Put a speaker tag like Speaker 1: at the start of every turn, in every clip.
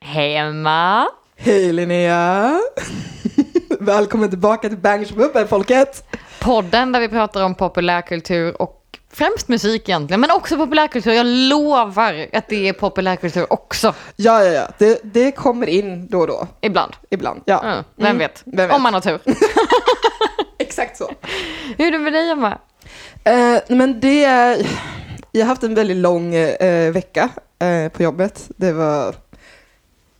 Speaker 1: Hej Emma!
Speaker 2: Hej Linnea! Välkommen tillbaka till Bangersbubbel folket!
Speaker 1: Podden där vi pratar om populärkultur och främst musik egentligen, men också populärkultur. Jag lovar att det är populärkultur också,
Speaker 2: Ja, ja, ja, det, det kommer in då och då,
Speaker 1: ibland.
Speaker 2: ibland. Ja,
Speaker 1: Mm, vem,
Speaker 2: Mm,
Speaker 1: vet?
Speaker 2: vem vet?
Speaker 1: Om man har tur.
Speaker 2: exakt så.
Speaker 1: Hur är det med dig Emma?
Speaker 2: Eh, men det, jag har haft en väldigt lång eh, vecka eh, på jobbet. Det var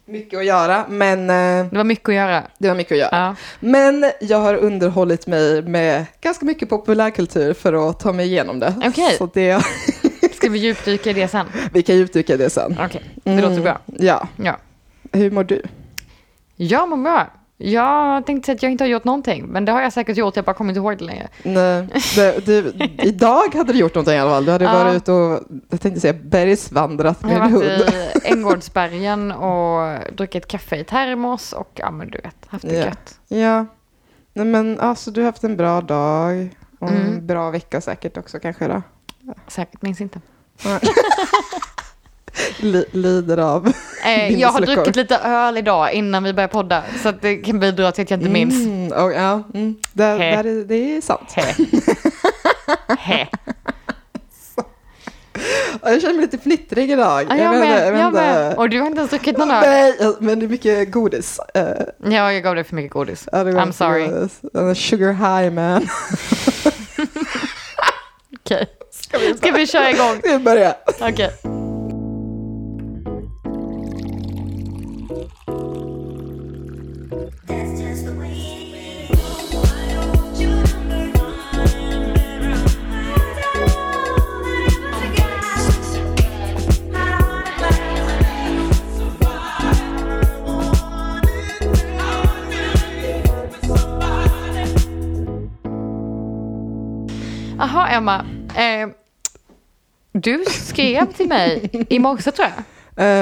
Speaker 2: mycket att göra, men eh,
Speaker 1: Det var mycket att göra.
Speaker 2: det var mycket att göra.
Speaker 1: Ja.
Speaker 2: Men jag har underhållit mig med ganska mycket populärkultur för att ta mig igenom det.
Speaker 1: Okej.
Speaker 2: Så det,
Speaker 1: Ska vi djupdyka i det sen?
Speaker 2: vi kan djupdyka i det sen.
Speaker 1: Okej, det låter
Speaker 2: Mm,
Speaker 1: bra.
Speaker 2: Ja.
Speaker 1: Ja.
Speaker 2: Hur mår du?
Speaker 1: Jag mår bra. Jag tänkte säga att jag inte har gjort någonting, men det har jag säkert gjort. Jag bara kommer inte ihåg det längre.
Speaker 2: Nej, det, du, idag hade du gjort någonting i alla fall. Du hade
Speaker 1: Ja.
Speaker 2: varit ute och, jag tänkte säga bergsvandrat med
Speaker 1: Jag
Speaker 2: din
Speaker 1: har
Speaker 2: hund.
Speaker 1: varit i Änggårdsbergen och druckit kaffe i termos och ja men du vet, haft det
Speaker 2: Ja.
Speaker 1: gött.
Speaker 2: Ja, Nej, men alltså du har haft en bra dag och en
Speaker 1: Mm.
Speaker 2: bra vecka säkert också kanske då.
Speaker 1: Säkert, minns inte.
Speaker 2: Li- lider av.
Speaker 1: Eh, jag har
Speaker 2: Minnesluckor.
Speaker 1: druckit lite öl idag innan vi började podda så att det kan bidra till att jag inte minns.
Speaker 2: Mm, och, ja, mm, det,
Speaker 1: Hej.
Speaker 2: där är, det är sant.
Speaker 1: He. He.
Speaker 2: Ja, Jag känner mig lite fnittrig idag.
Speaker 1: Ja, jag
Speaker 2: vet inte,
Speaker 1: med, jag,
Speaker 2: vet inte.
Speaker 1: med. Och du har inte ens druckit någon öl.
Speaker 2: Nej, jag- men det är mycket godis. Eh,
Speaker 1: Ja, jag gav dig för mycket godis.
Speaker 2: ja, det var
Speaker 1: I'm
Speaker 2: mycket
Speaker 1: sorry.
Speaker 2: godis. I'm a Sugar high man.
Speaker 1: Okej. Ska vi köra igång?
Speaker 2: Ska vi börja?
Speaker 1: Okej.
Speaker 3: That's just the way it is. I want you number one.
Speaker 1: Jaha, Emma. Eh, du skrev till mig i morse tror jag.
Speaker 2: Eh,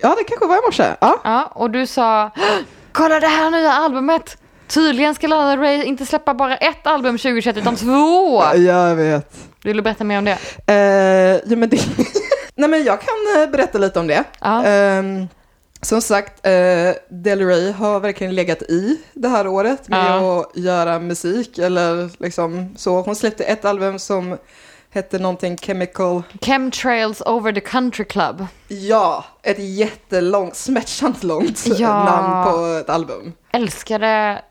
Speaker 2: ja, det kanske var i morse. Ja.
Speaker 1: Ja, och du sa "Åh, kolla det här nya albumet. Tydligen ska Lana Del Rey inte släppa bara ett album 2021 utan två.
Speaker 2: Jag vet.
Speaker 1: Vill du berätta mer om det?
Speaker 2: Eh, jo, men det... Nej, men jag kan eh, berätta lite om det.
Speaker 1: Ja.
Speaker 2: Ehm, som sagt, eh, Del Rey har verkligen legat i det här året med
Speaker 1: Ja.
Speaker 2: att göra musik eller liksom så. Hon släppte ett album som hette någonting Chemical.
Speaker 1: Chemtrails over the country club.
Speaker 2: Ja, ett jättelångt, smärtsamt långt eh,
Speaker 1: Ja.
Speaker 2: namn på ett album.
Speaker 1: Älskade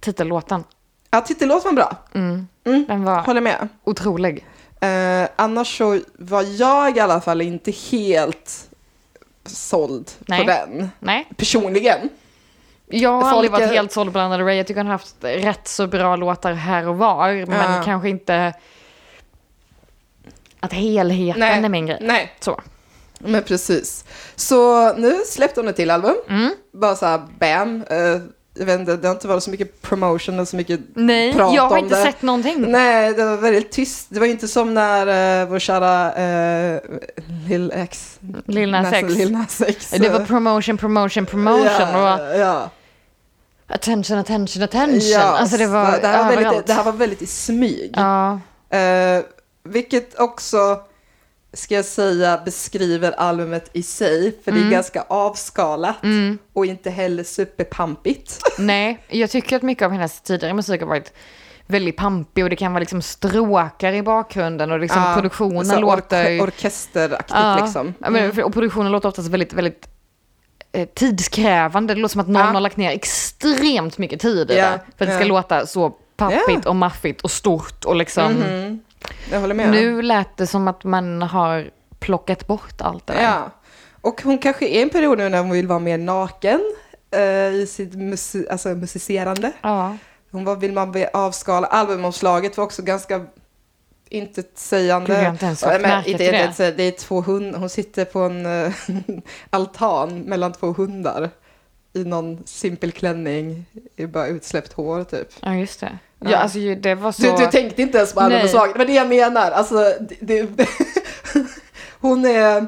Speaker 1: titellåten.
Speaker 2: Ja, titellåten var bra.
Speaker 1: Mm.
Speaker 2: Mm.
Speaker 1: Den var
Speaker 2: Håller med.
Speaker 1: otrolig.
Speaker 2: Eh, annars så var jag i alla fall inte helt såld
Speaker 1: Nej.
Speaker 2: på den.
Speaker 1: Nej,
Speaker 2: Personligen.
Speaker 1: jag har
Speaker 2: Folk
Speaker 1: aldrig varit
Speaker 2: är-
Speaker 1: helt såld på Lana Del Rey. Jag tycker hon har haft rätt så bra låtar här och var, men
Speaker 2: Ja.
Speaker 1: kanske inte att helheten
Speaker 2: Nej.
Speaker 1: är min grej.
Speaker 2: Nej,
Speaker 1: Så.
Speaker 2: men precis. Så nu släppte hon ett till album.
Speaker 1: Mm.
Speaker 2: Bara så här bam. Eh, jag vet inte, det har inte varit så mycket promotion eller så mycket...
Speaker 1: Nej,
Speaker 2: Prata
Speaker 1: jag har
Speaker 2: om
Speaker 1: inte
Speaker 2: det.
Speaker 1: sett någonting.
Speaker 2: Nej, det var väldigt tyst. Det var inte som när eh, vår kära eh, Lil X...
Speaker 1: Lil Nas X.
Speaker 2: Lil Nas X.
Speaker 1: Det var promotion, promotion, promotion. Det var
Speaker 2: Ja, ja.
Speaker 1: attention, attention, attention.
Speaker 2: ja.
Speaker 1: alltså det var
Speaker 2: det, här var väldigt,
Speaker 1: överallt.
Speaker 2: det här var väldigt i smyg.
Speaker 1: Ja,
Speaker 2: Eh, vilket också, ska jag säga, beskriver albumet i sig. För
Speaker 1: Mm.
Speaker 2: det är ganska avskalat och inte heller superpampigt.
Speaker 1: nej, jag tycker att mycket av hennes tidigare musik har varit väldigt pampig och det kan vara liksom stråkar i bakgrunden och liksom
Speaker 2: Ja, Ah, så
Speaker 1: produktionen
Speaker 2: här
Speaker 1: låter...
Speaker 2: ork- orkesteraktigt
Speaker 1: Ja,
Speaker 2: liksom.
Speaker 1: ja, men- och produktionen låter oftast väldigt, väldigt eh, tidskrävande. Det låter som att någon
Speaker 2: Ja.
Speaker 1: har lagt ner extremt mycket tid i
Speaker 2: Ja,
Speaker 1: det för att det ska
Speaker 2: ja.
Speaker 1: låta så pappigt och maffigt och stort och liksom...
Speaker 2: Mhm. Jag håller med.
Speaker 1: Nu lät det som att man har plockat bort allt det där.
Speaker 2: Ja. Och hon kanske är i en period nu när hon vill vara mer naken eh, i sitt musi- alltså musicerande.
Speaker 1: Ja.
Speaker 2: Hon var, vill man be- avskala. Albumomslaget var också ganska intetsägande.
Speaker 1: Gud, jag har inte ens lagt
Speaker 2: Ja, men
Speaker 1: märke
Speaker 2: inte-
Speaker 1: till det.
Speaker 2: inte- det är två hund, hon sitter på en eh, altan mellan två hundar i någon simpel klänning, i bara utsläppt hår typ.
Speaker 1: Ja, just det. Ja,
Speaker 2: Ja.
Speaker 1: alltså ju- det var så...
Speaker 2: Du, du tänkte inte ens på
Speaker 1: Nej.
Speaker 2: albumomslaget, men det jag menar, alltså, det, det, hon är,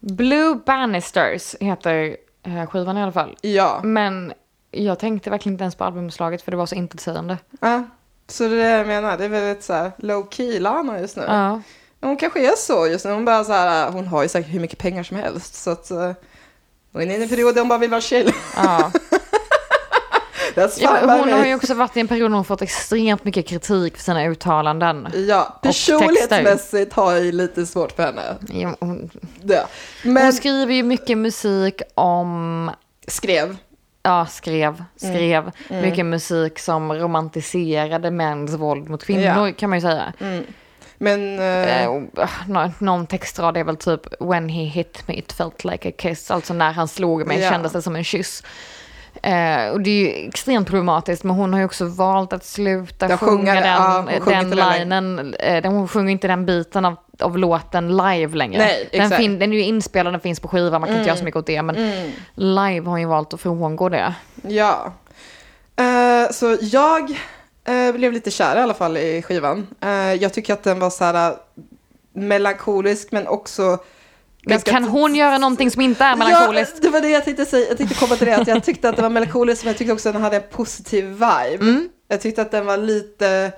Speaker 1: Blue Bannisters heter eh, skivan i alla fall.
Speaker 2: ja,
Speaker 1: Men jag tänkte verkligen inte ens på albumslaget för det var så intetsägande.
Speaker 2: ja. Så det är det jag menar, det är väldigt så här low key Lana just nu.
Speaker 1: Ja.
Speaker 2: Hon kanske är så just nu. Hon bara så här, hon har ju säkert hur mycket pengar som helst. Så att eh, Hon är inne i en period där hon bara vill vara chill.
Speaker 1: Ja.
Speaker 2: That's
Speaker 1: Ja, men
Speaker 2: fine by
Speaker 1: hon
Speaker 2: me.
Speaker 1: har ju också varit i en period där hon fått extremt mycket kritik för sina uttalanden.
Speaker 2: Ja, personlighetsmässigt har jag ju lite svårt för henne.
Speaker 1: Ja, Hon,
Speaker 2: Ja.
Speaker 1: hon
Speaker 2: Men
Speaker 1: skriver ju mycket musik om,
Speaker 2: skrev.
Speaker 1: ja skrev, skrev, mycket musik som romantiserade mäns våld mot kvinnor kan man ju säga.
Speaker 2: Men eh,
Speaker 1: Eh, och, ah, nå- någon textrad är väl typ “When he hit me it felt like a kiss”, alltså när han slog mig
Speaker 2: Ja.
Speaker 1: kändes det som en kyss. Eh, och det är ju extremt problematiskt men hon har ju också valt att sluta
Speaker 2: Jag
Speaker 1: sjunga
Speaker 2: sjunger-
Speaker 1: den, eh,
Speaker 2: ja, hon sjunger
Speaker 1: den
Speaker 2: inte den längre.
Speaker 1: linen, eh, den- hon sjunger inte den biten av, av låten live längre.
Speaker 2: Nej,
Speaker 1: den,
Speaker 2: exakt. Mm.
Speaker 1: fin, den är ju inspelad, den finns på skiva, man kan inte göra så mycket åt det men live har hon ju valt att frångå det.
Speaker 2: ja. Eh, så jag eh, blev lite kär i alla fall i skivan. Eh, jag tycker att den var så här eh, melankolisk men också
Speaker 1: Men
Speaker 2: ganska
Speaker 1: kan hon göra någonting som inte är melankoliskt?
Speaker 2: Ja, det var det jag tänkte säga. Jag tänkte komma till det att jag tyckte att det var melankoliskt men jag tyckte också att den hade en positiv vibe.
Speaker 1: Mm.
Speaker 2: Jag tyckte att den var lite,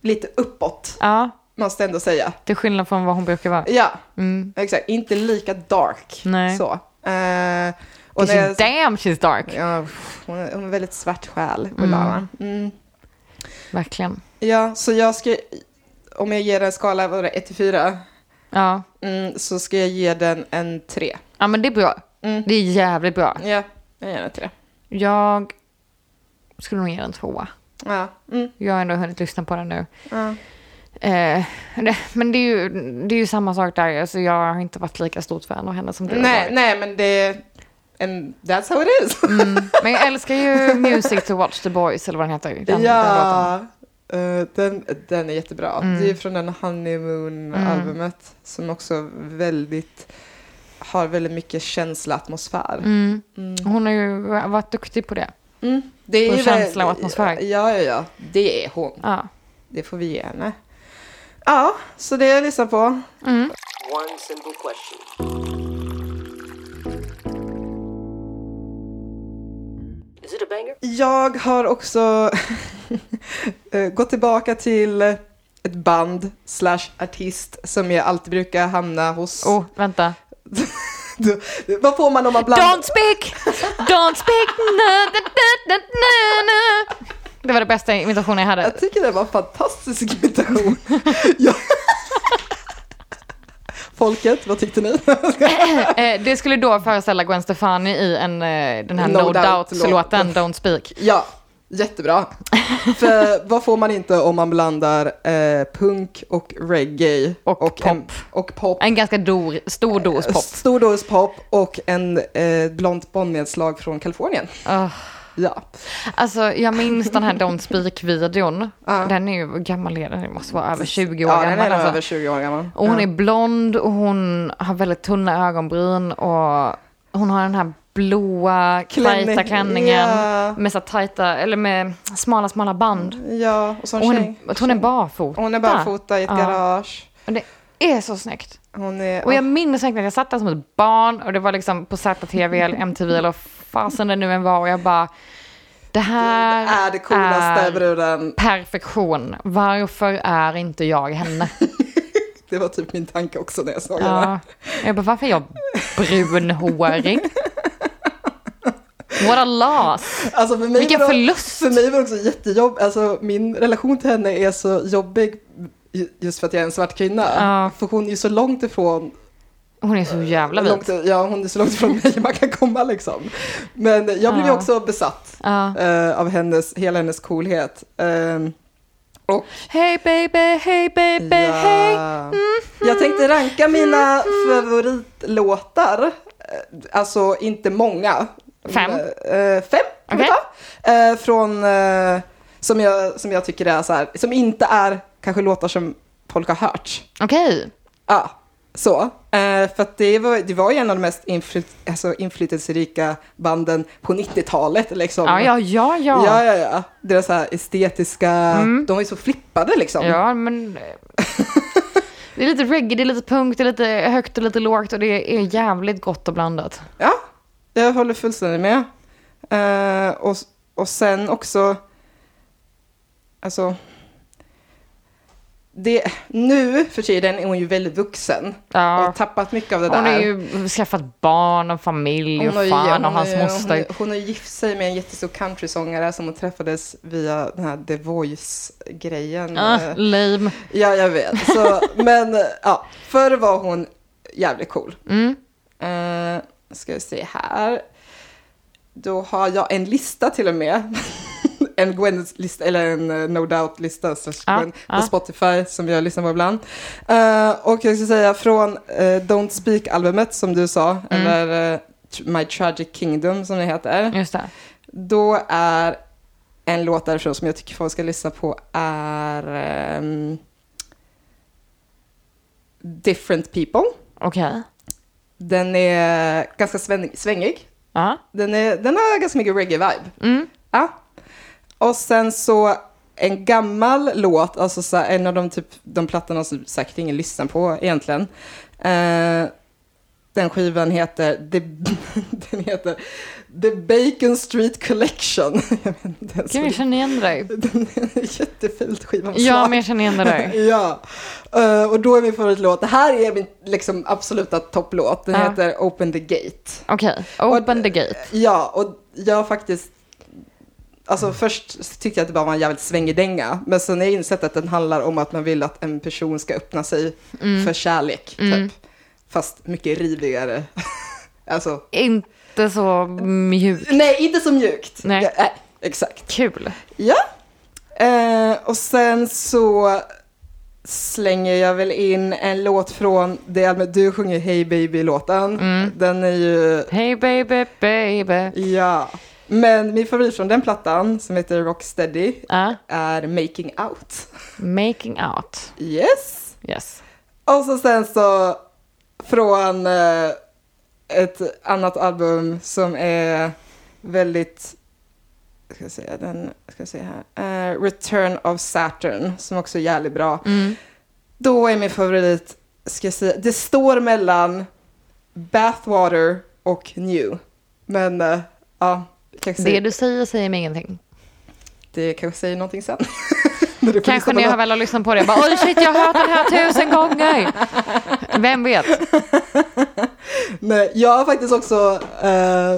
Speaker 2: lite uppåt,
Speaker 1: Ja,
Speaker 2: måste jag ändå säga.
Speaker 1: till skillnad från vad hon brukar vara.
Speaker 2: Ja,
Speaker 1: Mm.
Speaker 2: exakt. Inte lika dark.
Speaker 1: Nej.
Speaker 2: Så. Eh, och när
Speaker 1: She's
Speaker 2: jag,
Speaker 1: damn she's dark.
Speaker 2: ja, pff, hon, är, hon är en väldigt svart själ,
Speaker 1: Mm.
Speaker 2: Ulana. Mm.
Speaker 1: Verkligen.
Speaker 2: Ja, så jag ska, om jag ger den en skala, vad var det, 1 till 4?
Speaker 1: Ja.
Speaker 2: Mm, så ska jag ge den en 3.
Speaker 1: ja, men det är bra.
Speaker 2: Mm.
Speaker 1: Det är jävligt bra.
Speaker 2: Ja, jag ger den en 3.
Speaker 1: Jag skulle nog ge den tvåa.
Speaker 2: Ja, mm,
Speaker 1: Jag har ändå hunnit lyssna på den nu.
Speaker 2: ja.
Speaker 1: Eh, det- men det är, ju, det är ju samma sak där. Alltså jag har inte varit lika stort fan av henne som du har
Speaker 2: Nej,
Speaker 1: varit.
Speaker 2: nej, men det... And that's how it is.
Speaker 1: Mm. Men jag älskar ju Music to Watch the Boys, eller vad den heter. Den, den låten. Mm.
Speaker 2: ja, eh, den, den är jättebra. Det är ju från den Honeymoon-albumet som också väldigt har väldigt mycket känsla, atmosfär.
Speaker 1: Mm.
Speaker 2: Mm.
Speaker 1: Hon har ju varit duktig på det.
Speaker 2: Mm. Det
Speaker 1: Och
Speaker 2: är ju
Speaker 1: känsla och
Speaker 2: väl-
Speaker 1: atmosfär.
Speaker 2: Ja, ja, ja. Det är hon.
Speaker 1: Ja.
Speaker 2: Det får vi ge henne. Ja, så det jag lyssnar på.
Speaker 1: Mm.
Speaker 4: One simple question. Is it a banger?
Speaker 2: Jag har också eh, gått tillbaka till ett band slash artist som jag alltid brukar hamna hos.
Speaker 1: Oh, vänta.
Speaker 2: Du- Vad får man om man blandar?
Speaker 1: Don't speak! Don't speak! Na, na, na, na, na, na. Det var det bästa imitationen jag hade.
Speaker 2: Jag tycker det var en fantastisk imitation. jag... Folket, vad tyckte ni?
Speaker 1: Eh, det skulle då föreställa Gwen Stefani i en, eh, den här No,
Speaker 2: No
Speaker 1: Doubt-låten, Don't Speak.
Speaker 2: ja, jättebra. För vad får man inte om man blandar eh, punk och reggae?
Speaker 1: Och pop.
Speaker 2: En, och pop.
Speaker 1: En ganska dor,
Speaker 2: Eh,
Speaker 1: stor dos pop.
Speaker 2: Stor dos pop och en eh, blont bondnedslag från Kalifornien.
Speaker 1: Ah.
Speaker 2: Ja.
Speaker 1: Alltså, jag minns den här Don't Speak-videon.
Speaker 2: Ja.
Speaker 1: Den är ju gammal, är den Den måste vara över 20 år
Speaker 2: ja, den är
Speaker 1: gammal.
Speaker 2: nog
Speaker 1: Alltså.
Speaker 2: över 20 år gammal.
Speaker 1: Och hon är blond och hon har väldigt tunna ögonbryn och hon har den här blåa,
Speaker 2: Klänning.
Speaker 1: tajta klänningen
Speaker 2: Ja.
Speaker 1: med så här tajta, eller med smala, smala band.
Speaker 2: Ja, och som
Speaker 1: Och hon,
Speaker 2: tjej.
Speaker 1: är- att hon är barfota.
Speaker 2: Hon är barfota i ett
Speaker 1: Ja.
Speaker 2: garage.
Speaker 1: Och det är så snyggt.
Speaker 2: Hon är...
Speaker 1: Och jag minns verkligen att jag satt där som ett barn och det var liksom på ZTV eller MTV eller vad fasen det nu än var och jag bara det här
Speaker 2: Det är det coolaste bruden.
Speaker 1: perfektion. Varför är inte jag henne?
Speaker 2: Det var typ min tanke också när jag såg henne.
Speaker 1: Ja. Jag bara, varför är jag brunhårig? What a loss.
Speaker 2: Alltså för mig
Speaker 1: Vilken
Speaker 2: var det-
Speaker 1: förlust.
Speaker 2: För mig var det också jättejobb. Alltså min relation till henne är så jobbig ju- just för att jag är en svart kvinna.
Speaker 1: Ja.
Speaker 2: För hon är ju så långt ifrån
Speaker 1: Hon är så jävla
Speaker 2: långt,
Speaker 1: vit.
Speaker 2: ja, hon är så långt ifrån mig man kan komma liksom. Men jag blev ju
Speaker 1: Ja.
Speaker 2: också besatt
Speaker 1: Ja.
Speaker 2: eh, av hennes, hela hennes coolhet. Eh, och
Speaker 1: Hey baby, hey baby,
Speaker 2: Ja.
Speaker 1: hey.
Speaker 2: Jag tänkte
Speaker 1: Mhm.
Speaker 2: ranka mina favoritlåtar. Eh, Alltså inte många.
Speaker 1: Fem?
Speaker 2: Eh, eh, fem kan vi
Speaker 1: Okej.
Speaker 2: ta. Eh, Från, eh, som jag, som jag tycker är så här, som inte är kanske låtar som folk har hört.
Speaker 1: Okej.
Speaker 2: Ja, så. Eh, För att det var, det var ju en av de mest infly, alltså inflytelserika banden på 90-talet. Liksom.
Speaker 1: Ja, ja, ja, ja. Mm.
Speaker 2: Ja, ja, ja. Deras så här estetiska, de var ju så flippade liksom.
Speaker 1: Ja, men... eh, Det är lite reggae, det är lite punk, det är lite högt och lite lågt och det är jävligt gott och blandat.
Speaker 2: Ja, jag håller fullständigt med. Eh, och, och sen också, alltså, det, nu för tiden är hon ju väldigt vuxen och
Speaker 1: Ja.
Speaker 2: har tappat mycket av det
Speaker 1: Hon
Speaker 2: där.
Speaker 1: har ju skaffat barn och familj och
Speaker 2: har ju-
Speaker 1: fan och
Speaker 2: har
Speaker 1: hans
Speaker 2: ju- hon,
Speaker 1: moster.
Speaker 2: har- hon har ju gift sig med en jättestor countrysångare som hon träffades via den här The Voice-grejen.
Speaker 1: Ah,
Speaker 2: Eh,
Speaker 1: lame.
Speaker 2: Ja, jag vet. Så, men eh, ja, förr var hon jävligt cool.
Speaker 1: Mm.
Speaker 2: Uh, ska vi se här. Då har jag en lista till och med. en Gwen-lista, eller en eh, No Doubt-lista slash
Speaker 1: Ja,
Speaker 2: Gwen, på
Speaker 1: ja.
Speaker 2: Spotify som jag lyssnar på ibland. Eh, och jag ska säga från eh, Don't Speak-albumet som du sa,
Speaker 1: Mm.
Speaker 2: eller eh, Tr- My Tragic Kingdom som det heter.
Speaker 1: Just det.
Speaker 2: Då är en låt därifrån som jag tycker folk ska lyssna på är ehm, Different People.
Speaker 1: Okej.
Speaker 2: Den är ganska sväng- svängig.
Speaker 1: Ja.
Speaker 2: Den, är, den har ganska mycket reggae-vibe.
Speaker 1: Mm.
Speaker 2: Ja. Och sen så en gammal låt, alltså så här, en av de, typ, de plattorna som säkert ingen lyssnar på egentligen. Eh, den skivan heter The, den heter The Bacon Street Collection. jag vet inte ens
Speaker 1: Gud, jag
Speaker 2: vad
Speaker 1: känner igen det där.
Speaker 2: det- den är en jättefult skiva. med
Speaker 1: Ja,
Speaker 2: slag.
Speaker 1: men jag känner igen det där.
Speaker 2: Ja, Eh, och då är min favoritlåt. Det här är min liksom, absoluta topplåt. Den
Speaker 1: Ja.
Speaker 2: heter Open the Gate.
Speaker 1: Okej, open the gate.
Speaker 2: Ja, och jag faktiskt... Alltså först tyckte jag att det bara var en jävligt svängig dänga. Men sen har jag insett att den handlar om att man vill att en person ska öppna sig för kärlek.
Speaker 1: Mm.
Speaker 2: Typ. Fast mycket rivigare. alltså,
Speaker 1: Inte så mjuk.
Speaker 2: nej, inte så mjukt.
Speaker 1: Nej.
Speaker 2: Ja, nej exakt.
Speaker 1: Kul.
Speaker 2: Ja. Eh, och sen så slänger jag väl in en låt från det albumet. Du sjunger Hey Baby-låten. Den är ju
Speaker 1: Hey baby, baby.
Speaker 2: Ja, men min favorit från den plattan som heter Rocksteady
Speaker 1: Ja.
Speaker 2: är Making Out.
Speaker 1: Making out.
Speaker 2: Yes!
Speaker 1: Yes.
Speaker 2: Och så sen så från eh, ett annat album som är väldigt, ska jag säga den, ska jag säga här, eh, Return of Saturn som också är jävligt bra.
Speaker 1: Mm.
Speaker 2: Då är min favorit, ska jag säga, det står mellan Bathwater och New. Men eh, ja, jag kanske
Speaker 1: Det
Speaker 2: säger-
Speaker 1: du säger säger mig ingenting.
Speaker 2: Det kanske säger någonting sen. När du får lyssna
Speaker 1: Kanske
Speaker 2: på
Speaker 1: när jag
Speaker 2: den.
Speaker 1: väl har lyssnat på det. Jag bara, Oj shit, jag har hört den här tusen gånger. Vem vet?
Speaker 2: Nej, jag har faktiskt också, eh,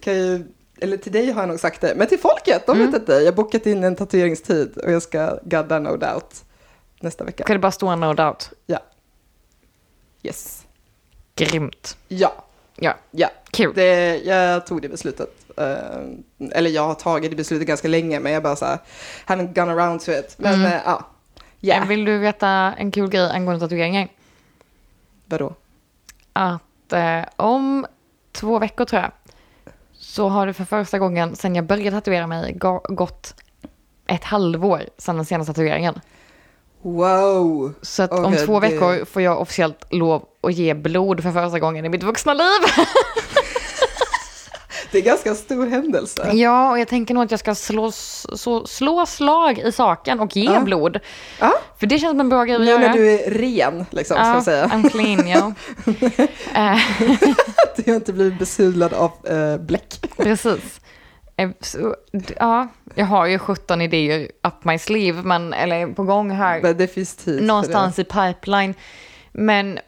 Speaker 2: kan ju, eller till dig har jag nog sagt det, men till folket,
Speaker 1: Mm.
Speaker 2: de vet inte. Jag har bokat in en tatueringstid och jag ska gadda no doubt nästa vecka.
Speaker 1: Ska det bara stå no doubt?
Speaker 2: Ja. Yes.
Speaker 1: Grymt.
Speaker 2: Ja.
Speaker 1: Ja,
Speaker 2: Ja.
Speaker 1: kul.
Speaker 2: Det, jag tog det beslutet. Eh, eller jag har tagit det beslutet ganska länge, men jag bara så här, haven't gone around to it. Men
Speaker 1: Mm.
Speaker 2: eh, ja. Ja.
Speaker 1: Vill du veta en kul grej angående tatueringar?
Speaker 2: Vadå?
Speaker 1: Att eh, om två veckor tror jag så har det för första gången sedan jag började tatuera mig ga- gått ett halvår sedan den senaste tatueringen.
Speaker 2: Wow.
Speaker 1: Så att om
Speaker 2: Okej,
Speaker 1: två
Speaker 2: det-
Speaker 1: veckor får jag officiellt lov att ge blod för första gången i mitt vuxna liv.
Speaker 2: Det är ganska stor händelse.
Speaker 1: Ja, och jag tänker nog att jag ska slå, s- så, slå slag i saken och ge
Speaker 2: Ja.
Speaker 1: blod.
Speaker 2: Ja.
Speaker 1: För det känns som en bra grej att
Speaker 2: Nu
Speaker 1: göra.
Speaker 2: när du är ren, liksom, ska
Speaker 1: Ja,
Speaker 2: jag säga.
Speaker 1: I'm clean, ja. Eh,
Speaker 2: Att jag inte blir besudlad av eh, bläck.
Speaker 1: Precis. Eh, Så, d- ja, jag har ju 17 idéer up my sleeve, men, eller på gång här,
Speaker 2: Men det finns tid
Speaker 1: någonstans i pipeline. Men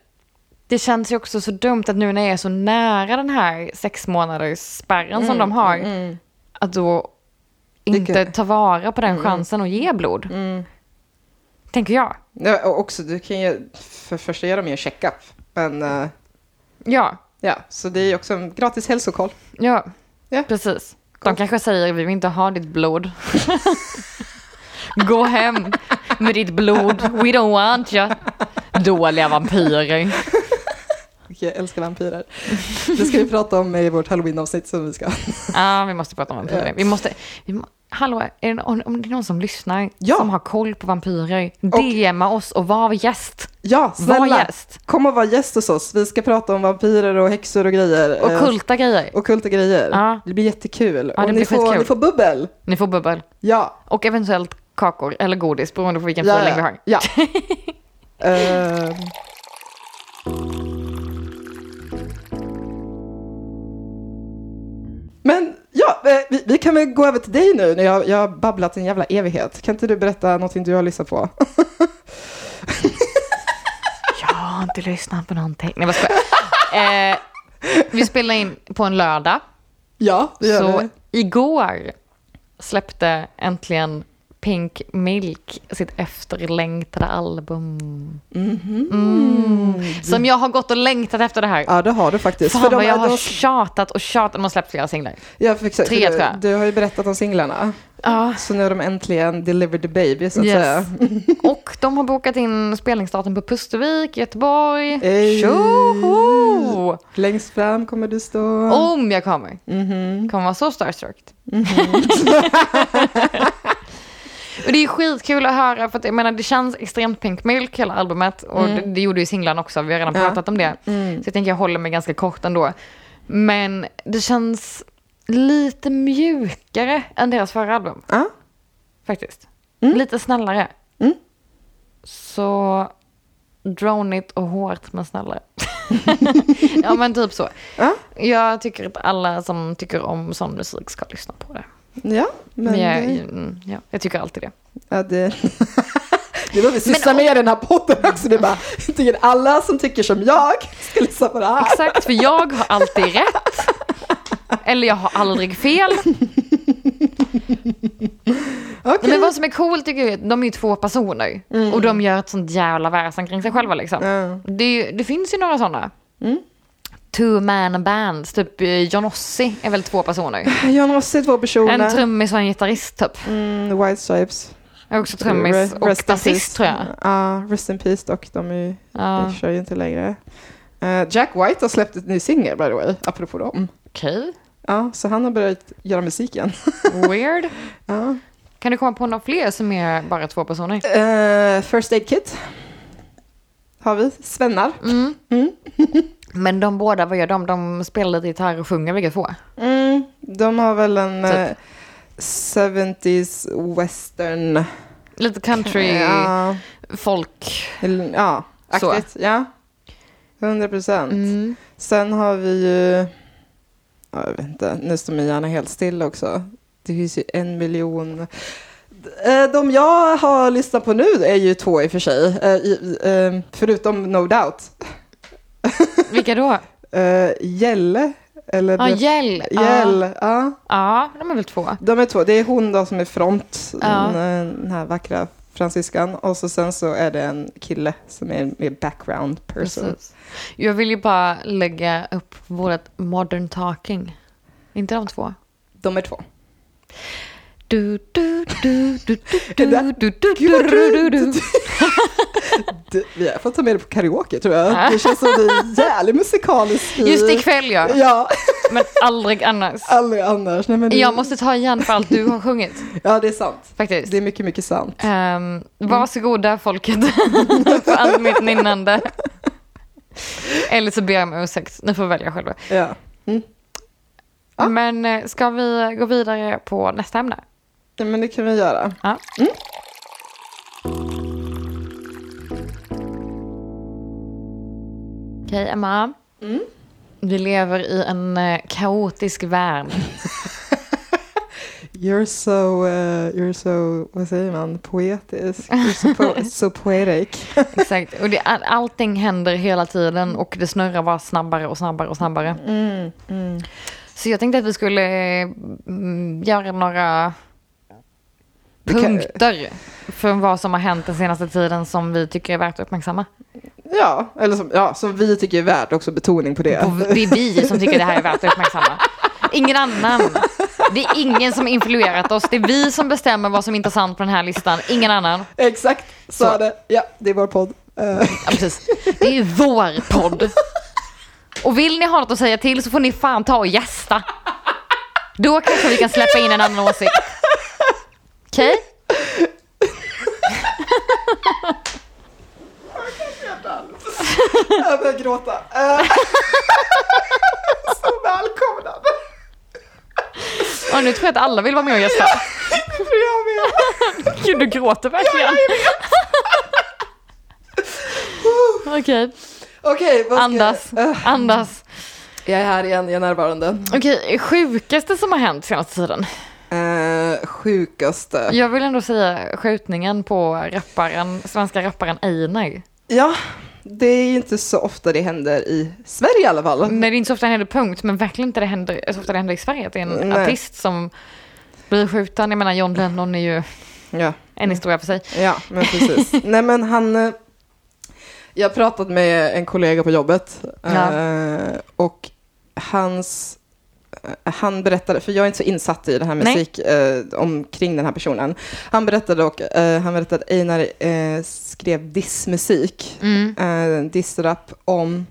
Speaker 1: det känns ju också så dumt att nu när jag är så nära den här sex månaders spärren som
Speaker 2: Mm,
Speaker 1: de har, att då inte
Speaker 2: Vilket-
Speaker 1: ta vara på den
Speaker 2: Mm.
Speaker 1: chansen och ge blod. Tänker jag.
Speaker 2: för det. Ja, och också, du kan ju, för det första gör de ju en checkup. Men eh,
Speaker 1: Ja,
Speaker 2: ja, så det är ju också en gratis hälsokoll.
Speaker 1: ja,
Speaker 2: Ja.
Speaker 1: precis. De kanske säger vi vill inte ha ditt blod. Gå hem med ditt blod. We don't want you. Dåliga vampyrer.
Speaker 2: Och Jag älskar vampyrer. Det ska vi prata om i vårt halloween-avsnitt som vi ska.
Speaker 1: Ja, vi måste prata om vampyrer. Vi måste... Vi må, hallå, är det, om, om det är någon som lyssnar
Speaker 2: Ja.
Speaker 1: som har koll på vampyrer, DMa oss och var gäst.
Speaker 2: Ja,
Speaker 1: Var
Speaker 2: snälla!
Speaker 1: gäst.
Speaker 2: Kom och var gäst hos oss. Vi ska prata om vampyrer och häxor och grejer.
Speaker 1: Och
Speaker 2: eh,
Speaker 1: kulta grejer.
Speaker 2: och kulta grejer.
Speaker 1: Ja.
Speaker 2: Det blir jättekul.
Speaker 1: Ja, det
Speaker 2: och
Speaker 1: blir
Speaker 2: ni får,
Speaker 1: skitkul.
Speaker 2: ni får bubbel.
Speaker 1: Ni får bubbel.
Speaker 2: Ja.
Speaker 1: Och eventuellt kakor eller godis beroende på vilken
Speaker 2: Ja,
Speaker 1: feeling
Speaker 2: ja.
Speaker 1: vi har.
Speaker 2: Ja. Ehm. Men ja, eh, vi, vi kan väl gå över till dig nu när jag, jag har babblat en jävla evighet. Kan inte du berätta någonting du har lyssnat på?
Speaker 1: har inte lyssnat på någonting. Nej, vad ska jag? Eh, vi spelar in på en lördag.
Speaker 2: Ja, det gör
Speaker 1: Så
Speaker 2: det.
Speaker 1: igår släppte äntligen Pink Milk sitt efterlängtade album. Mm. Som jag har gått och längtat efter det här.
Speaker 2: Mhm. Ja, det har du faktiskt.
Speaker 1: Fan
Speaker 2: För de
Speaker 1: vad
Speaker 2: är-
Speaker 1: jag har
Speaker 2: de-
Speaker 1: tjatat och tjatat. De har släppt flera singlar.
Speaker 2: Ja, för exakt.
Speaker 1: Tre, tror
Speaker 2: du,
Speaker 1: jag.
Speaker 2: du har ju berättat om singlarna.
Speaker 1: Ja.
Speaker 2: Så nu har de äntligen delivered the baby, så att säga.
Speaker 1: och de har bokat in spelningsdatum på Pustervik, Göteborg.
Speaker 2: Ey.
Speaker 1: Tjoho!
Speaker 2: Längst fram kommer du stå.
Speaker 1: Om jag kommer.
Speaker 2: Mhm.
Speaker 1: Kommer vara så starstruck. och det är skitkul att höra för att jag menar det känns extremt Pink Milk hela albumet och det, det gjorde ju singlarna också, vi har redan
Speaker 2: Mm. Ja.
Speaker 1: pratat om det.
Speaker 2: Mm.
Speaker 1: Så jag tänker jag håller mig ganska kort ändå. Men det känns lite mjukare än deras förra album
Speaker 2: Ja, Mm.
Speaker 1: faktiskt. Lite snällare. Så dronigt och hårt men snällare. ja men typ så.
Speaker 2: Ja.
Speaker 1: Jag tycker att alla som tycker om sån musik ska lyssna på det.
Speaker 2: ja men,
Speaker 1: Men jag,
Speaker 2: det,
Speaker 1: mm, ja, jag tycker alltid det.
Speaker 2: ja, det... Det är vad vi sysslar med i den här podden också. Det är bara, jag tycker alla som tycker som jag ska lyssna på det här.
Speaker 1: Exakt, för jag har alltid rätt. Eller jag har aldrig fel.
Speaker 2: Okej. Mm.
Speaker 1: Men vad som är coolt tycker jag är att de är ju två personer. Och de gör ett sånt jävla väsen kring sig själva liksom.
Speaker 2: Ja. Mm.
Speaker 1: Det, är ju- det finns ju några sådana. Two man bands, typ eh, John Ossie är väl två personer.
Speaker 2: John Rossi, två personer.
Speaker 1: En trummis och en gitarrist typ.
Speaker 2: Mm, White Stripes.
Speaker 1: Jag är också trummis
Speaker 2: Re-
Speaker 1: och
Speaker 2: rest in
Speaker 1: basist
Speaker 2: peace.
Speaker 1: tror jag.
Speaker 2: Ja, Rest in Peace dock. De är ju
Speaker 1: Ja.
Speaker 2: De kör ju inte längre. Eh, Jack White har släppt ett ny singel, by the way, apropå dem.
Speaker 1: Okej,
Speaker 2: Ja, så han har börjat göra musiken.
Speaker 1: weird.
Speaker 2: Ja.
Speaker 1: Kan du komma på några fler som är bara två personer?
Speaker 2: Eh, First Aid Kit har vi. Svennar.
Speaker 1: Mm. Men de båda, vad gör de? De spelar lite gitarr och sjunger bägge två.
Speaker 2: Mm, de har väl en
Speaker 1: Typ.
Speaker 2: eh, 70s western...
Speaker 1: Lite country,
Speaker 2: Ja,
Speaker 1: folk.
Speaker 2: eller- ja
Speaker 1: Så.
Speaker 2: aktigt. Ja, 100 procent.
Speaker 1: Mm.
Speaker 2: Sen har vi ju... Ja, jag vet inte, nu står min hjärna helt still också. Det finns ju en miljon... Eh, De jag har lyssnat på nu är ju två i och för sig, eh, i- eh, förutom No Doubt.
Speaker 1: Vilka då?
Speaker 2: Eh, Gälle, eller...
Speaker 1: Ja, ah,
Speaker 2: The-
Speaker 1: Gäll. Ja,
Speaker 2: Gäll, ja.
Speaker 1: Ja, de är väl två.
Speaker 2: De är två. Det är hon då som är front,
Speaker 1: Ja.
Speaker 2: den, eh, den här vackra fransyskan. Och så sen så är det en kille som är mer background person.
Speaker 1: Precis. Jag vill ju bara lägga upp vårt modern talking. Inte de två?
Speaker 2: De är två.
Speaker 1: Du, du, du, du, du,
Speaker 2: Det
Speaker 1: du,
Speaker 2: där-
Speaker 1: du, du, du, du, du.
Speaker 2: Det, vi har fått ta med det på karaoke tror jag.
Speaker 1: Ah.
Speaker 2: Det känns som det är jävligt musikaliskt. i-
Speaker 1: Just ikväll ja,
Speaker 2: Ja,
Speaker 1: men aldrig annars.
Speaker 2: aldrig annars. Nej, men det,
Speaker 1: Jag måste ta igen för allt du har sjungit
Speaker 2: Ja, det är sant.
Speaker 1: faktiskt.
Speaker 2: Det är mycket, mycket sant.
Speaker 1: Um, varsågoda folket för allt mitt nynnande. Eller så ber jag om ursäkt, ni får välja själva.
Speaker 2: Ja. Ja.
Speaker 1: Men eh, ska vi gå vidare på nästa ämne?
Speaker 2: Ja, Men det kan vi göra.
Speaker 1: Ja. Okej, Emma. Vi lever i en eh, kaotisk värld.
Speaker 2: You're so, eh, you're so, vad säger man, poetisk. You're so, po- so poetic.
Speaker 1: Exakt. Och det, all- allting händer hela tiden och det snurrar bara snabbare och snabbare och snabbare. Mm. Så jag tänkte att vi skulle eh, mm, göra några
Speaker 2: kan-
Speaker 1: punkter för vad som har hänt den senaste tiden som vi tycker är värt att uppmärksamma.
Speaker 2: Ja, eller som, ja, som vi tycker är värt också betoning på det.
Speaker 1: Och det är vi som tycker det här är värt att uppmärksamma. Ingen annan. Det är ingen som influerat oss. Det är vi som bestämmer vad som är intressant på den här listan. Ingen annan.
Speaker 2: Exakt, så
Speaker 1: Så.
Speaker 2: är det. Ja, det är vår podd. Eh,
Speaker 1: Ja, precis. Det är ju vår podd. Och vill ni ha något att säga till så får ni fan ta och gästa. Då kanske vi kan släppa in en annan åsikt. Okej?
Speaker 2: jag börjar gråta. Eh, så välkomnad.
Speaker 1: Och nu tror jag att alla vill vara med och gästa.
Speaker 2: Det tror jag med.
Speaker 1: Gud, du gråter verkligen. Okej,
Speaker 2: Okej, vad ska-
Speaker 1: andas.
Speaker 2: Eh,
Speaker 1: Andas.
Speaker 2: jag är här igen, jag är närvarande.
Speaker 1: Okej, sjukaste som har hänt senaste tiden?
Speaker 2: Eh, sjukaste.
Speaker 1: Jag vill ändå säga skjutningen på rapparen, svenska rapparen Einar.
Speaker 2: Ja, det är ju inte så ofta det händer i Sverige i alla fall.
Speaker 1: Nej, det är inte så ofta det händer punkt, men verkligen inte det händer, så ofta det händer i Sverige att det är en
Speaker 2: Nej.
Speaker 1: artist som blir skjuten. Jag menar, John Lennon är ju
Speaker 2: Ja.
Speaker 1: en historia för sig.
Speaker 2: Ja, men precis. Nej, men han... eh, Jag har pratat med en kollega på jobbet
Speaker 1: Ja.
Speaker 2: eh, och hans... eh, Han berättade, för jag är inte så insatt i det här
Speaker 1: Nej.
Speaker 2: musik eh, omkring den här personen. Han berättade och eh, han berättade att Einar eh, skrev dissmusik,
Speaker 1: Mm.
Speaker 2: eh, dissrap om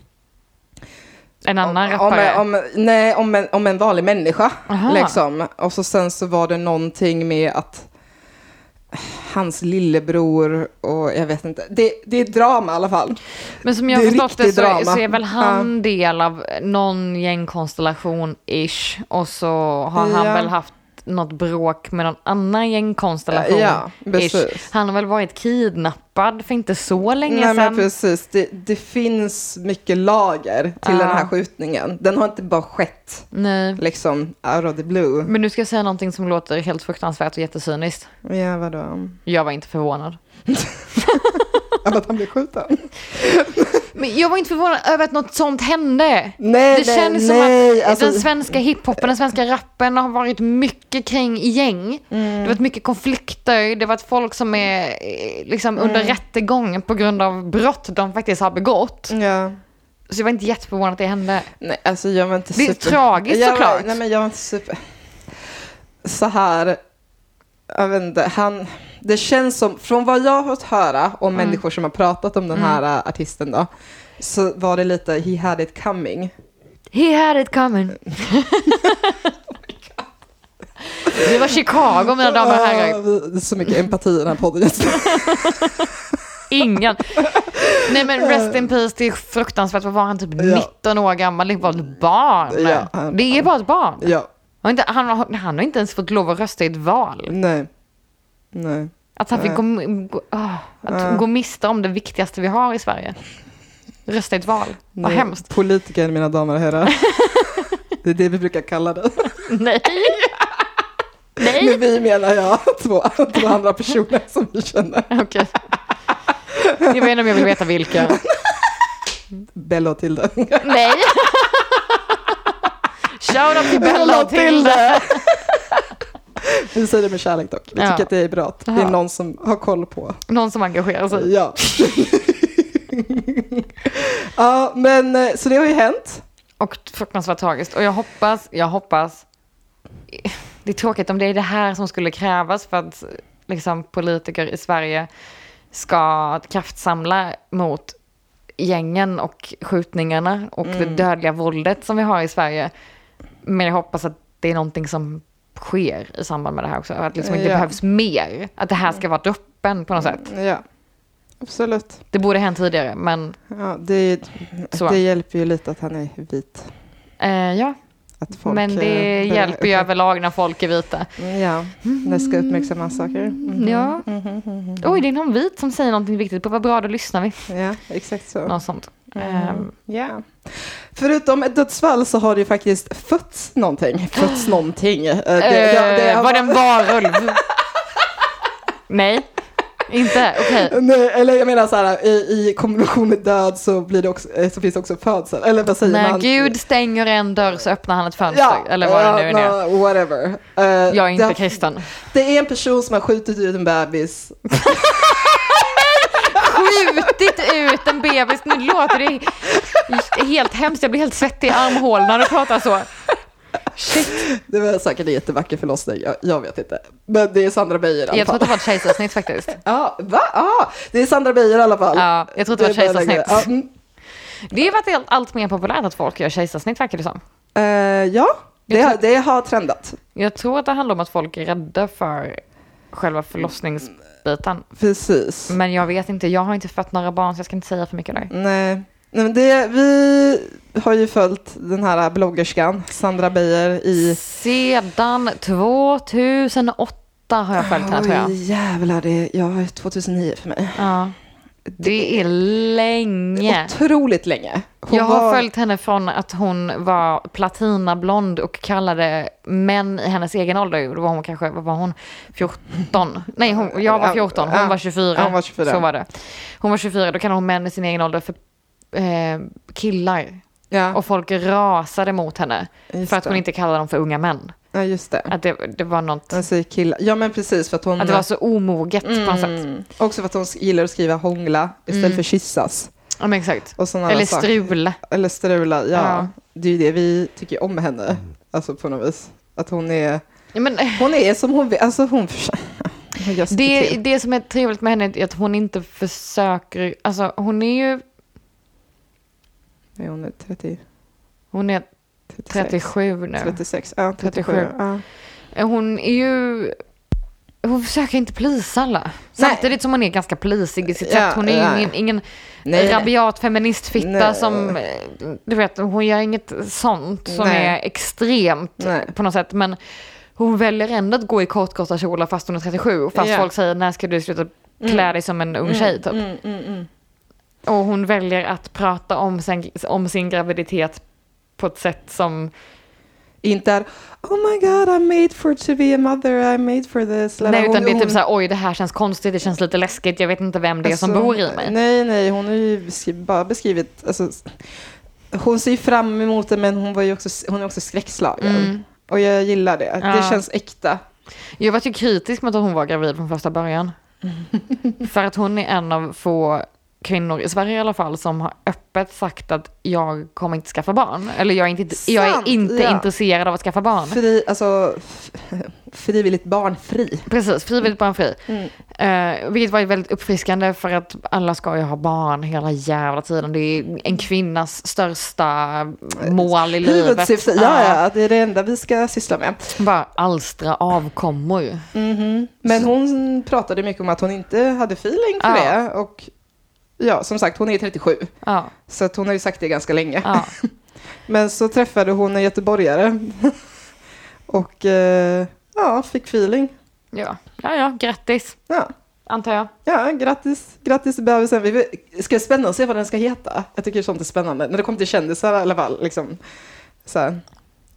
Speaker 1: En annan
Speaker 2: om,
Speaker 1: rappare.
Speaker 2: om, om, nej, om, en, om en vanlig människa.
Speaker 1: Aha.
Speaker 2: Liksom. Och så sen så var det någonting med att hans lillebror och jag vet inte. Det, det är drama i alla fall.
Speaker 1: men som jag har
Speaker 2: det är
Speaker 1: förstått det
Speaker 2: riktigt
Speaker 1: så, är-
Speaker 2: drama.
Speaker 1: så är väl han del av någon gängkonstellation-ish. Och så har han
Speaker 2: Ja.
Speaker 1: väl haft något bråk med någon annan gängkonstellation.
Speaker 2: Ja, precis.
Speaker 1: Han har väl varit kidnappad för inte så länge
Speaker 2: Nej, men
Speaker 1: sedan.
Speaker 2: precis. Det, det finns mycket lager till
Speaker 1: Ja.
Speaker 2: den här skjutningen. Den har inte bara skett
Speaker 1: Nej.
Speaker 2: liksom out of the blue.
Speaker 1: Men nu ska jag säga någonting som låter helt fruktansvärt och jättecyniskt.
Speaker 2: Ja, vadå?
Speaker 1: Jag var inte förvånad.
Speaker 2: Av att han blev skjuten?
Speaker 1: Men jag var inte förvånad över att något sånt hände.
Speaker 2: Nej,
Speaker 1: det
Speaker 2: nej,
Speaker 1: känns
Speaker 2: nej,
Speaker 1: som att
Speaker 2: alltså-
Speaker 1: den svenska hiphopen, den svenska rappen har varit mycket kring gäng.
Speaker 2: Mm.
Speaker 1: Det har varit mycket konflikter, det har varit folk som är eh, liksom under
Speaker 2: Mm.
Speaker 1: rättegång på grund av brott de faktiskt har begått.
Speaker 2: Ja.
Speaker 1: Så jag var inte jätteförvånad att det hände.
Speaker 2: Nej, alltså jag var inte
Speaker 1: Det är
Speaker 2: super...
Speaker 1: tragiskt
Speaker 2: jag
Speaker 1: såklart.
Speaker 2: Var, nej, men jag var inte super... Så här... Jag vet inte, han... Det känns som, från vad jag har fått höra om
Speaker 1: Mm.
Speaker 2: människor som har pratat om den här ä, artisten då, så var det lite he had it coming.
Speaker 1: He had it coming. Det var Chicago mina damer och herrar.
Speaker 2: Åh, Ah, vi- det är så mycket empati i den här podden just nu.
Speaker 1: Ingen. Nej men rest in peace, det är fruktansvärt. Vad var han? Typ
Speaker 2: Ja.
Speaker 1: 19 år gammal. Det var ett barn.
Speaker 2: Ja, han-
Speaker 1: det är bara ett barn.
Speaker 2: Ja,
Speaker 1: Han, har inte, han, har, han har inte ens fått lov att rösta i ett val.
Speaker 2: nej. Nej.
Speaker 1: Att han fick gå, gå, ah, att gå miste om det viktigaste vi har i Sverige. Rösta i ett val. Vad
Speaker 2: nej.
Speaker 1: hemskt.
Speaker 2: Politiker, mina damer och herrar. Det är det vi brukar kalla det.
Speaker 1: Nej.
Speaker 2: Med
Speaker 1: Nej.
Speaker 2: vi menar jag två, två andra personer som vi känner.
Speaker 1: Okej. Jag vet inte om jag vill veta vilka.
Speaker 2: Bella och Tilde.
Speaker 1: Nej. Shoutout till Bella och Tilde.
Speaker 2: Vi säger det med kärlek dock. Vi
Speaker 1: Ja.
Speaker 2: tycker att det är bra att det
Speaker 1: Ja.
Speaker 2: är någon som har koll på.
Speaker 1: Någon som engagerar sig.
Speaker 2: Ja. ja, men eh, så det har ju hänt.
Speaker 1: Och fruktansvärt tragiskt. Och jag hoppas, jag hoppas. Det är tråkigt om det är det här som skulle krävas för att liksom, politiker i Sverige ska kraftsamla mot gängen och skjutningarna och
Speaker 2: Mm.
Speaker 1: det dödliga våldet som vi har i Sverige. Men jag hoppas att det är någonting som sker i samband med det här också. Att liksom inte
Speaker 2: Ja. Mm.
Speaker 1: behövs mer. Att det här ska vara droppen på något sätt.
Speaker 2: Ja, absolut.
Speaker 1: Det borde ha hänt tidigare, men
Speaker 2: Ja, det,
Speaker 1: Så.
Speaker 2: det hjälper ju lite att han är vit.
Speaker 1: eh, ja.
Speaker 2: Att folk,
Speaker 1: men det
Speaker 2: eh, börjar-
Speaker 1: hjälper ju överlag när folk är vita.
Speaker 2: Ja, det ska uppmärksamma saker. Mhm.
Speaker 1: Ja. Oj, det är någon vit som säger någonting viktigt. På vad bra, då lyssnar vi.
Speaker 2: Ja, exakt så.
Speaker 1: Något sånt. Ehm,
Speaker 2: Ja. Förutom ett dödsfall så har det ju faktiskt fötts någonting. Fötts någonting. Eh, det- ja, det
Speaker 1: eh,
Speaker 2: har
Speaker 1: var det
Speaker 2: varit-
Speaker 1: en varulv? Nej, inte. Okej.
Speaker 2: Nej, eller jag menar så här, i, i kombination med död så, blir det också, eh, så finns det också födsel. Eller vad säger
Speaker 1: När
Speaker 2: man?
Speaker 1: Gud stänger en dörr så öppnar han ett fönster. Eller vad det nu är.
Speaker 2: ja,
Speaker 1: nu.
Speaker 2: no, Whatever. Eh,
Speaker 1: Jag är inte
Speaker 2: det,
Speaker 1: kristen.
Speaker 2: det är en person som har skjutit ut en bebis.
Speaker 1: Skjutit ut en bebis. Nu låter det helt hemskt. Jag blir helt svettig i armhålan när du pratar så. Shit.
Speaker 2: Det var säkert en jättevacker förlossning, jag, jag vet inte. Men det är Sandra Beijer i alla
Speaker 1: Jag tror
Speaker 2: fall.
Speaker 1: att det var ett kejsarsnitt faktiskt.
Speaker 2: Ja, va? Ah, det är Sandra Beijer i alla fall.
Speaker 1: Ja, jag tror att det var
Speaker 2: är bara-
Speaker 1: kejsarsnitt.
Speaker 2: Ja, mm.
Speaker 1: Det har varit helt- allt mer populärt att folk gör kejsarsnitt verkar det som.
Speaker 2: Eh, ja, det,
Speaker 1: Jag
Speaker 2: har, det har trendat.
Speaker 1: Jag tror att det handlar om att folk är rädda för själva förlossningsbiten.
Speaker 2: Precis.
Speaker 1: Men jag vet inte, jag har inte fött några barn så jag ska inte säga för mycket där.
Speaker 2: Nej. Nej, men det, vi har ju följt den här bloggerskan, Sandra Beijer, i...
Speaker 1: Sedan 2008 har jag följt henne tror
Speaker 2: Oj,
Speaker 1: jag.
Speaker 2: jävlar, det ja, 2009 för mig.
Speaker 1: Ja. Det är länge.
Speaker 2: Otroligt länge. Hon
Speaker 1: Jag har
Speaker 2: var-
Speaker 1: följt henne från att hon var platinablond och kallade män i hennes egen ålder, då var hon kanske, vad var hon, 14? Nej, hon, jag var 14, hon var 24.
Speaker 2: Ja, hon var 24.
Speaker 1: Så var det. Hon var 24, då kallade hon män i sin egen ålder för eh, killar.
Speaker 2: Ja,
Speaker 1: Och folk rasade mot henne
Speaker 2: just
Speaker 1: för att hon
Speaker 2: det.
Speaker 1: inte kallade dem för unga män.
Speaker 2: Ja, just det.
Speaker 1: Att det, det var något,
Speaker 2: Man säger killar. Ja, men precis. För att hon...
Speaker 1: att det var så omoget på något sätt.
Speaker 2: Mm. Också för att hon gillar att skriva hångla istället för kyssas.
Speaker 1: Ja, men exakt.
Speaker 2: Och såna
Speaker 1: Eller
Speaker 2: saker.
Speaker 1: strula.
Speaker 2: Eller strula, ja.
Speaker 1: Ja.
Speaker 2: Det är ju det vi tycker om henne. Alltså på något vis. Att hon är...
Speaker 1: Ja, men, eh,
Speaker 2: Hon är som hon vill. Alltså hon... hon gör sitt
Speaker 1: det,
Speaker 2: till.
Speaker 1: det som är trevligt med henne är att hon inte försöker, alltså hon är ju,
Speaker 2: Nej, hon är 30,
Speaker 1: hon är
Speaker 2: 36.
Speaker 1: 37 nu.
Speaker 2: 36. Ja, 37.
Speaker 1: 37.
Speaker 2: Ja.
Speaker 1: Hon är ju... Hon försöker inte plisa alla. Samtidigt som hon är ganska plisig i sitt
Speaker 2: Ja,
Speaker 1: sätt. Hon är ju
Speaker 2: nej.
Speaker 1: ingen, ingen
Speaker 2: Nej, nej.
Speaker 1: rabiat feministfitta
Speaker 2: Nej.
Speaker 1: som... eh, Du vet, hon gör inget sånt som
Speaker 2: Nej.
Speaker 1: är extremt
Speaker 2: Nej.
Speaker 1: på något sätt. Men hon väljer ändå att gå i kortkorta kjolar fast hon är 37. Fast
Speaker 2: Ja.
Speaker 1: folk säger när ska du sluta klä dig som en ung tjej typ.
Speaker 2: Mm, mm, mm.
Speaker 1: Och hon väljer att prata om sin, om sin graviditet på ett sätt som...
Speaker 2: Inte är Oh my god, I'm made for to be a mother, I'm made for this. Eller
Speaker 1: Nej,
Speaker 2: hon-
Speaker 1: utan det är
Speaker 2: hon-
Speaker 1: typ så här, oj det här känns konstigt, det känns lite läskigt, jag vet inte vem det är som
Speaker 2: Alltså,
Speaker 1: bor i mig.
Speaker 2: Nej, nej, hon har ju beskri- bara beskrivit, alltså, hon ser ju fram emot det men hon, var ju också, hon är också skräckslagen.
Speaker 1: Mm.
Speaker 2: Och jag gillar det, det
Speaker 1: Ja.
Speaker 2: känns äkta.
Speaker 1: Jag var ju kritisk mot att hon var gravid från första början. För att hon är en av få kvinnor i Sverige i alla fall som har öppet sagt att jag kommer inte skaffa barn. Eller jag är inte, jag
Speaker 2: Sant,
Speaker 1: är inte
Speaker 2: ja.
Speaker 1: intresserad av att skaffa barn.
Speaker 2: Fri, alltså, f- frivilligt barnfri.
Speaker 1: Precis, frivilligt barnfri.
Speaker 2: Mm.
Speaker 1: Eh, vilket var ju väldigt uppfriskande för att alla ska ju ha barn hela jävla tiden. Det är en kvinnas största mål i livet.
Speaker 2: Huvudsyfte, ja, ja, det är det enda vi ska syssla med.
Speaker 1: Bara alstra avkommor. ju. Mm-hmm.
Speaker 2: Mhm. Men hon pratade mycket om att hon inte hade feeling för
Speaker 1: Ja.
Speaker 2: det. Och ja, som sagt, hon är 37.
Speaker 1: Ja,
Speaker 2: Så att hon har ju sagt det ganska länge.
Speaker 1: ja.
Speaker 2: Men så träffade hon en göteborgare. och eh, ja, fick feeling.
Speaker 1: Ja, ja, ja grattis.
Speaker 2: Ja,
Speaker 1: Antar jag.
Speaker 2: ja grattis, grattis till bebisen. Vi vill- ska det spännande att se vad den ska heta. Jag tycker sånt är spännande. När det kommer till kändisar i alla fall. Liksom. Så här.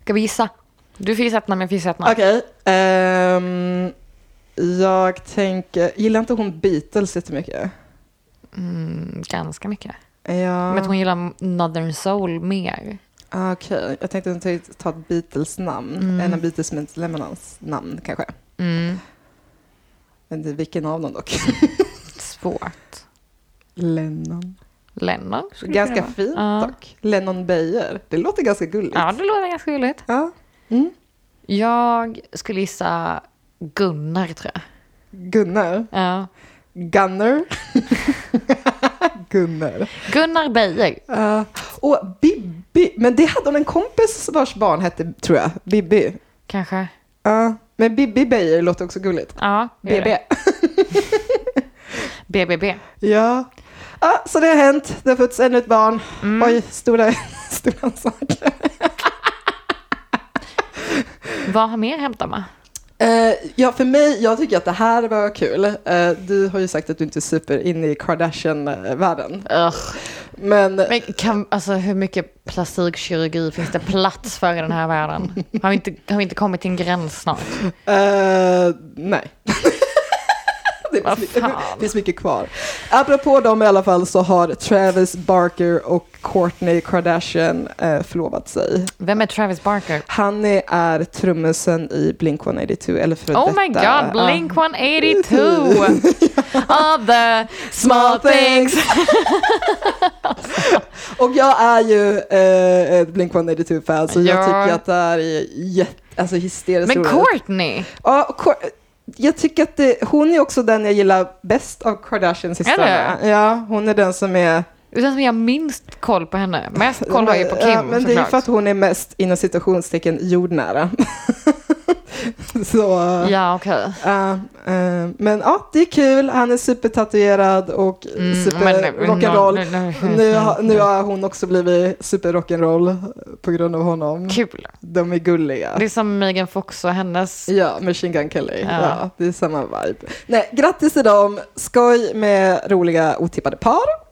Speaker 1: Ska vi gissa? Du får gissa ett namn, jag får gissa ett namn.
Speaker 2: Okej. ehm, jag tänker, gillar inte hon Beatles jättemycket?
Speaker 1: Mm, ganska mycket.
Speaker 2: Ja,
Speaker 1: Men att hon gillar Northern Soul mer.
Speaker 2: ah, okej. Jag tänkte hon tänkte ta ett Beatles-namn. En av Beatles-medlemmarnas namn kanske.
Speaker 1: Mm.
Speaker 2: Men det, vilken av dem dock?
Speaker 1: Svårt.
Speaker 2: Lennon.
Speaker 1: Lennon? skulle det
Speaker 2: Ganska
Speaker 1: kunna vara.
Speaker 2: fint
Speaker 1: Ja.
Speaker 2: dock. Lennon Beijer. Det låter ganska gulligt.
Speaker 1: Ja, det låter ganska gulligt.
Speaker 2: Ja. Mm.
Speaker 1: Jag skulle gissa Gunnar, tror jag.
Speaker 2: Gunnar.
Speaker 1: Ja.
Speaker 2: Gunnar. Gunnar.
Speaker 1: Gunnar Beijer.
Speaker 2: Ja. och Bibi. Men det hade hon en kompis vars barn hette, tror jag, Bibi.
Speaker 1: Kanske.
Speaker 2: Ja. men Bibi Beijer låter också gulligt.
Speaker 1: Ja, det är
Speaker 2: BB.
Speaker 1: det. BBB.
Speaker 2: Ja. Ah, så det har hänt. Det har fötts ännu ett barn. Oj, stora, stora saker.
Speaker 1: Vad har mer hänt, Emma?
Speaker 2: Eh, ja, för mig, jag tycker att det här var kul. Eh, du har ju sagt att du inte är super inne i Kardashian-världen.
Speaker 1: Ugh.
Speaker 2: Men,
Speaker 1: Men kan, alltså, hur mycket plastikkirurgi finns det plats för i den här världen? Har vi inte, har vi inte kommit till en gräns snart?
Speaker 2: eh, nej. det
Speaker 1: Vad
Speaker 2: finns mycket,
Speaker 1: fan.
Speaker 2: det finns mycket kvar. Apropå dem i alla fall så har Travis Barker och Kourtney Kardashian eh, förlovat sig.
Speaker 1: Vem är Travis Barker?
Speaker 2: Han är, är trummisen i Blink-182, eller för
Speaker 1: Oh
Speaker 2: detta. Ah.
Speaker 1: my god, Blink 182! All the small things!
Speaker 2: Och jag är ju eh, ett Blink-182-fan så jag
Speaker 1: Ja.
Speaker 2: tycker att det här är jätte, alltså hysteriskt
Speaker 1: Men
Speaker 2: roligt.
Speaker 1: Courtney!
Speaker 2: Ja, och Kour- jag tycker att det, hon är också den jag gillar bäst av Kardashians systrarna.
Speaker 1: Är
Speaker 2: Ja, hon är den som är...
Speaker 1: Utan som jag har minst koll på henne. Mest koll har jag ju på Kim
Speaker 2: Ja, men det är ju för att hon är mest inom citationstecken jordnära. så...
Speaker 1: Ja, okej.
Speaker 2: Ja, eh, men ja, det är kul. Han är supertatuerad och
Speaker 1: Mm,
Speaker 2: super
Speaker 1: men-
Speaker 2: rock'n'roll.
Speaker 1: nu- nu-
Speaker 2: Nu, har- nu har hon också blivit super rock'n'roll på grund av honom.
Speaker 1: Kul.
Speaker 2: De är gulliga.
Speaker 1: Det är som Megan Fox och hennes...
Speaker 2: Ja, Machine Gun Kelly. Ja.
Speaker 1: Ja.
Speaker 2: det är samma vibe. Nej, grattis till dem. Skoj med roliga otippade par.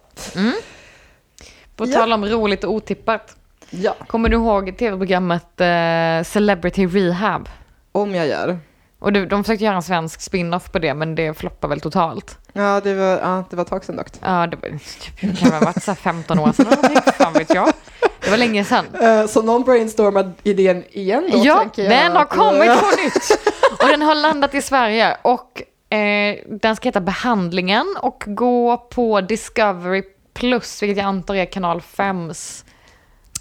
Speaker 1: På
Speaker 2: Ja.
Speaker 1: tal om roligt och otippat.
Speaker 2: Ja,
Speaker 1: Kommer du ihåg tv-programmet eh, Celebrity Rehab?
Speaker 2: om jag gör.
Speaker 1: Och de, de försökte göra en svensk spin-off på det, men det floppar väl totalt.
Speaker 2: Ja, det var, ja, det var ett tag sedan dock.
Speaker 1: Ja, det var, typ, det kan ha varit så här 15 år sedan eller någonting, fan vet jag. Det var länge sedan.
Speaker 2: Eh, så någon brainstormade idén igen då,
Speaker 1: ja,
Speaker 2: tänker jag. eh,
Speaker 1: den har kommit på nytt. Och den har landat i Sverige. Och eh, den ska heta Behandlingen och gå på Discovery Plus, vilket jag antar är kanal 5s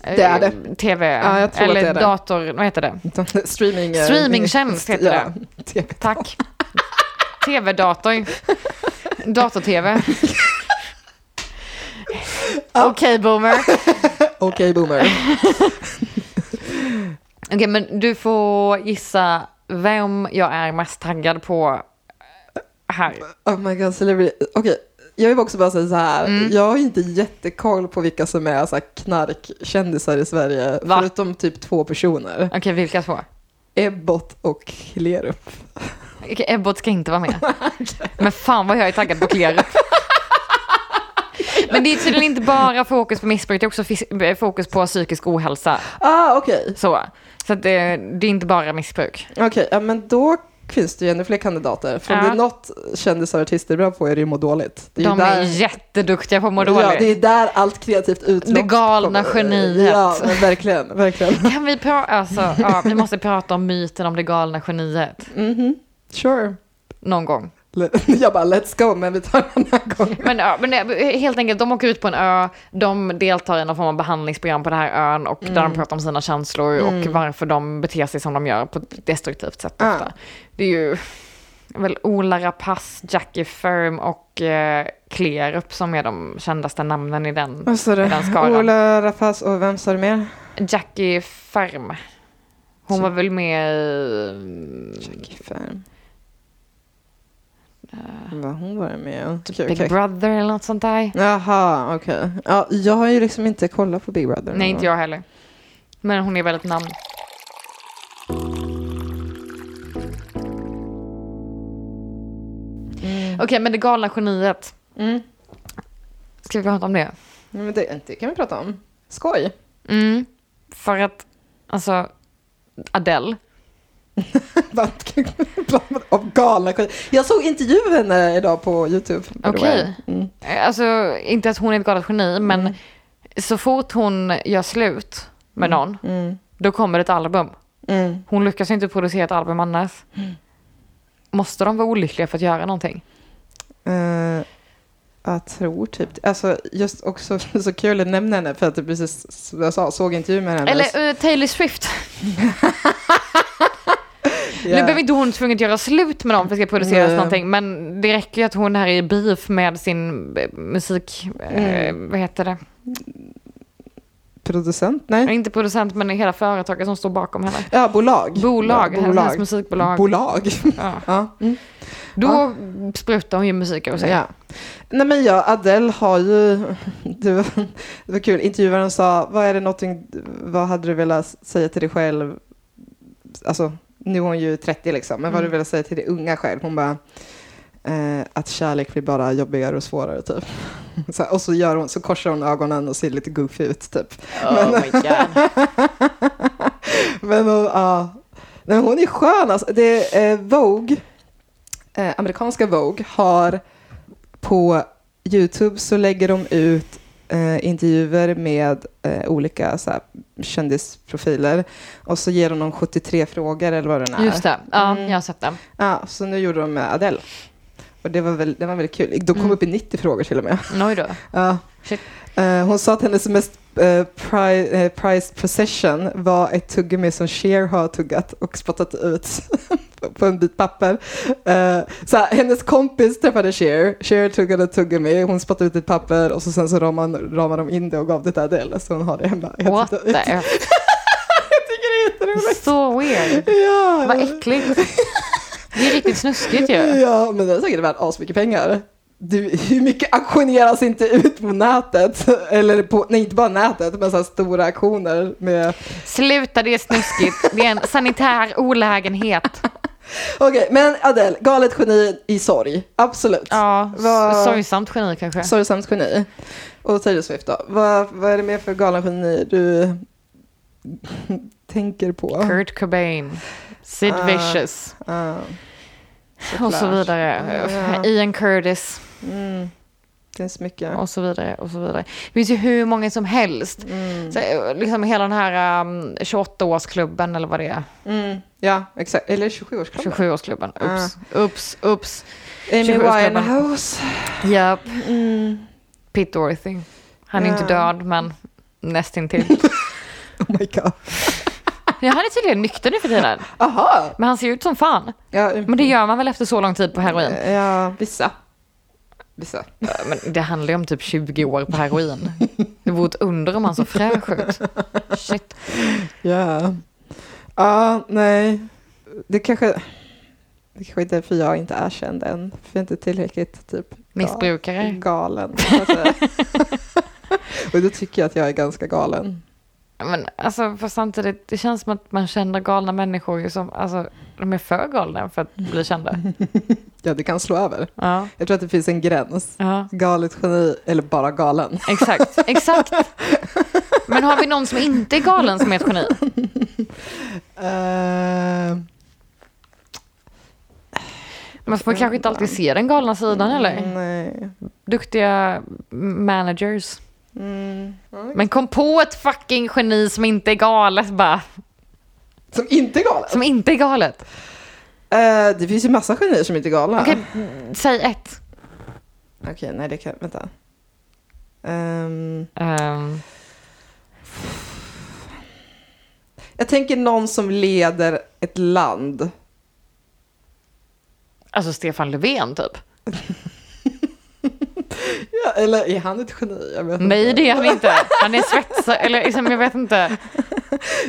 Speaker 1: eh,
Speaker 2: Det är
Speaker 1: TV.
Speaker 2: Ja, jag tror att
Speaker 1: eller
Speaker 2: det är det.
Speaker 1: dator, vad heter det?
Speaker 2: Streaming, eh,
Speaker 1: Streamingtjänst heter det.
Speaker 2: Ja, TV.
Speaker 1: Tack. TV-dator. Dator-TV. Okej, boomer.
Speaker 2: Okej, boomer.
Speaker 1: Okej, men du får gissa vem jag är mest taggad på här.
Speaker 2: Oh my god, celebrity. Okej, jag vill också bara säga så här.
Speaker 1: Mm.
Speaker 2: Jag har inte jättekoll på vilka som är så här knarkkändisar i Sverige.
Speaker 1: Va?
Speaker 2: Förutom typ två personer.
Speaker 1: Okej, vilka två?
Speaker 2: Ebbot och Klerup.
Speaker 1: Okej, Ebbot ska inte vara med. Men fan vad jag är taggad på Klerup. Men det är tydligen inte bara fokus på missbruk, det är också fis- fokus på psykisk ohälsa.
Speaker 2: Ah, okej.
Speaker 1: Så, så att det, det är inte bara missbruk.
Speaker 2: Okej, ja, men då finns det ju ännu fler kandidater. För om
Speaker 1: Ja.
Speaker 2: det är något kändisar och artister är bra på är det ju må dåligt. Det ju
Speaker 1: De är jätteduktiga på att må dåligt.
Speaker 2: Ja, det är där allt kreativt utlopp
Speaker 1: Det galna
Speaker 2: kommer.
Speaker 1: geniet.
Speaker 2: Ja, men verkligen, verkligen.
Speaker 1: Kan vi prata, alltså, ja, vi måste prata om myten om det galna geniet
Speaker 2: Sure.
Speaker 1: någon gång.
Speaker 2: Le- Jag bara, let's go, men vi tar den här gången.
Speaker 1: Men, ja, men eh, helt enkelt, de åker ut på en ö, de deltar i någon form av behandlingsprogram på den här ön och
Speaker 2: Mm.
Speaker 1: där de pratar om sina känslor och varför de beter sig som de gör på ett destruktivt sätt
Speaker 2: Ja.
Speaker 1: ofta. Det är ju väl Ola Rapace, Jackie Firm och eh, Klerup som är de kändaste namnen i den,
Speaker 2: Vad sa
Speaker 1: i
Speaker 2: du?
Speaker 1: den skaran.
Speaker 2: Ola Rapace och vem sa du mer?
Speaker 1: Jackie Firm. Hon var väl med i
Speaker 2: Jackie Färm. Vad hon var med Okej,
Speaker 1: Typ Big
Speaker 2: okej. Mm.
Speaker 1: Brother eller något sånt där.
Speaker 2: Jaha, okej. Ja, jag har ju liksom inte kollat på Big Brother.
Speaker 1: Nej, inte jag heller. Men hon är väl ett namn.
Speaker 2: Mm.
Speaker 1: Okej, men det galna geniet.
Speaker 2: Mm.
Speaker 1: Ska vi prata om det?
Speaker 2: Nej, Men det, det kan vi prata om. Skoj.
Speaker 1: Mm. För att, alltså, Adele.
Speaker 2: Av galna skit. Jag såg intervjuer med henne idag på YouTube. by the way.
Speaker 1: Okej.
Speaker 2: Mm.
Speaker 1: Alltså, inte att hon är ett galet geni, men så fort hon gör slut med någon,
Speaker 2: Mm.
Speaker 1: då kommer ett album.
Speaker 2: Mm.
Speaker 1: Hon lyckas inte producera ett album annars. Måste de vara olyckliga för att göra någonting?
Speaker 2: Eh, jag tror typ Alltså just också så kul att nämna henne för att det precis som jag sa, såg intervju med henne.
Speaker 1: Eller eh, Taylor Swift.
Speaker 2: Ja.
Speaker 1: Nu behöver inte hon tvunget göra slut med dem för att det ska produceras
Speaker 2: Nej.
Speaker 1: någonting, men det räcker ju att hon här är i beef med sin eh, musik,
Speaker 2: Mm.
Speaker 1: eh, vad heter det?
Speaker 2: Producent? Nej.
Speaker 1: Inte producent, men hela företaget som står bakom henne.
Speaker 2: Ja, bolag.
Speaker 1: Bolag,
Speaker 2: Ja,
Speaker 1: hennes
Speaker 2: bolag.
Speaker 1: musikbolag.
Speaker 2: Bolag.
Speaker 1: ja.
Speaker 2: ja. Mm.
Speaker 1: Då sprutar hon ju musik över sig.
Speaker 2: Ja. Nej men jag, Adele har ju, det var, det var kul, intervjuaren sa, vad är det någonting, vad hade du velat säga till dig själv, alltså nu är hon ju 30 liksom, men vad
Speaker 1: Mm.
Speaker 2: hade du velat säga till dig unga själv? Hon bara, eh, att kärlek blir bara jobbigare och svårare typ. Så, här, och så, gör hon, så korsar hon ögonen och ser lite goofy ut typ.
Speaker 1: Oh my god.
Speaker 2: Men hon, ja. Nej, hon är skön alltså. Det är eh, Vogue, eh, amerikanska Vogue, har på YouTube så lägger de ut eh, intervjuer med eh, olika så här, kändisprofiler och så ger de dem 73 frågor eller vad det är.
Speaker 1: Just det, ja,
Speaker 2: Mm.
Speaker 1: jag har sett den.
Speaker 2: Ja, så nu gjorde de med Adele. Och det var, väl, det var väldigt kul. De kom
Speaker 1: Mm.
Speaker 2: upp i 90 frågor till och med.
Speaker 1: Oj då.
Speaker 2: Ja.
Speaker 1: Shit.
Speaker 2: Eh, hon sa att hennes mest eh, pri- eh, prized possession var ett tuggummi som Cher har tuggat och spottat ut på en bit papper. Eh, så här, hennes kompis träffade Cher, Cher tuggade ett tuggummi, hon spottade ut ett papper och så sen så ramade, ramade de in det och gav det till Adele. Så hon har det hemma. Jag
Speaker 1: What
Speaker 2: tyckte-
Speaker 1: the...
Speaker 2: jag tycker det är jätteroligt.
Speaker 1: Så weird.
Speaker 2: Ja.
Speaker 1: Vad äckligt. Det är riktigt snuskigt ju.
Speaker 2: Ja, men den är säkert värd asmycket pengar. Du, hur mycket auktioneras inte ut på nätet? Eller på, nej, inte bara nätet, men så här stora auktioner med...
Speaker 1: Sluta, det är snuskigt. Det är en sanitär olägenhet.
Speaker 2: Okej, men Adele, galet geni i sorg. Absolut.
Speaker 1: Ja,
Speaker 2: Vad-
Speaker 1: s- sorgsamt geni kanske.
Speaker 2: Sorgsamt geni. Och Taylor Swift då? Vad, vad är det mer för galna geni du tänker på?
Speaker 1: Kurt Cobain. Sid
Speaker 2: Ah.
Speaker 1: Vicious.
Speaker 2: Ah.
Speaker 1: och så
Speaker 2: såklart.
Speaker 1: vidare.
Speaker 2: Ja.
Speaker 1: Ian Curtis
Speaker 2: Mm. Det finns mycket.
Speaker 1: och så vidare. Och så vidare. Det finns ju hur många som helst.
Speaker 2: Mm.
Speaker 1: Så, eh, liksom hela den här um, 28-årsklubben eller vad det är.
Speaker 2: Mm. Ja, exakt. Eller 27-årsklubben.
Speaker 1: 27-årsklubben. Ups, ups, ups.
Speaker 2: Amy
Speaker 1: 27-årsklubben.
Speaker 2: Winehouse.
Speaker 1: Japp.
Speaker 2: Mm.
Speaker 1: Pete Dorothy. Han är
Speaker 2: Ja.
Speaker 1: inte död, men nästintill.
Speaker 2: Oh my god.
Speaker 1: Ja, han är tydligen nykter nu för tiden.
Speaker 2: Aha.
Speaker 1: Men han ser ut som fan.
Speaker 2: Ja,
Speaker 1: Men det gör man väl efter så lång tid på heroin?
Speaker 2: Ja, vissa. Vissa.
Speaker 1: Eh, Men det handlar ju om typ 20 år på heroin. Det vore ett under om han så fräsch ut. Shit.
Speaker 2: Ja. Ja, nej. Det kanske... Det kanske är därför jag inte är känd än. För jag är inte tillräckligt typ
Speaker 1: Missbrukare.
Speaker 2: galen. så att säga. Och då tycker jag att jag är ganska galen.
Speaker 1: Men alltså, för samtidigt, det känns som att man känner galna människor ju som, alltså, de är för galna för att bli kända.
Speaker 2: Ja, det kan slå över.
Speaker 1: Ja,
Speaker 2: Jag tror att det finns en gräns.
Speaker 1: ja.
Speaker 2: Galet geni eller bara galen.
Speaker 1: Exakt, exakt. Men har vi någon som inte är galen som är ett geni?
Speaker 2: Eh,
Speaker 1: Man får kanske inte alltid se den galna sidan eller?
Speaker 2: Nej.
Speaker 1: Duktiga managers.
Speaker 2: Mm.
Speaker 1: Men kom på ett fucking geni som inte är galet bara.
Speaker 2: Som inte är galen?
Speaker 1: Som inte är galet.
Speaker 2: Eh, det finns ju massa genier som inte är galna.
Speaker 1: Okej, säg ett.
Speaker 2: Okej, nej det kan, vänta. Ehm,
Speaker 1: Ehm,
Speaker 2: jag tänker någon som leder ett land.
Speaker 1: alltså Stefan Löfven typ.
Speaker 2: Ja, eller är han ett geni? Jag vet
Speaker 1: Nej
Speaker 2: inte.
Speaker 1: det är han inte. Han är svetsare, eller liksom, jag vet inte.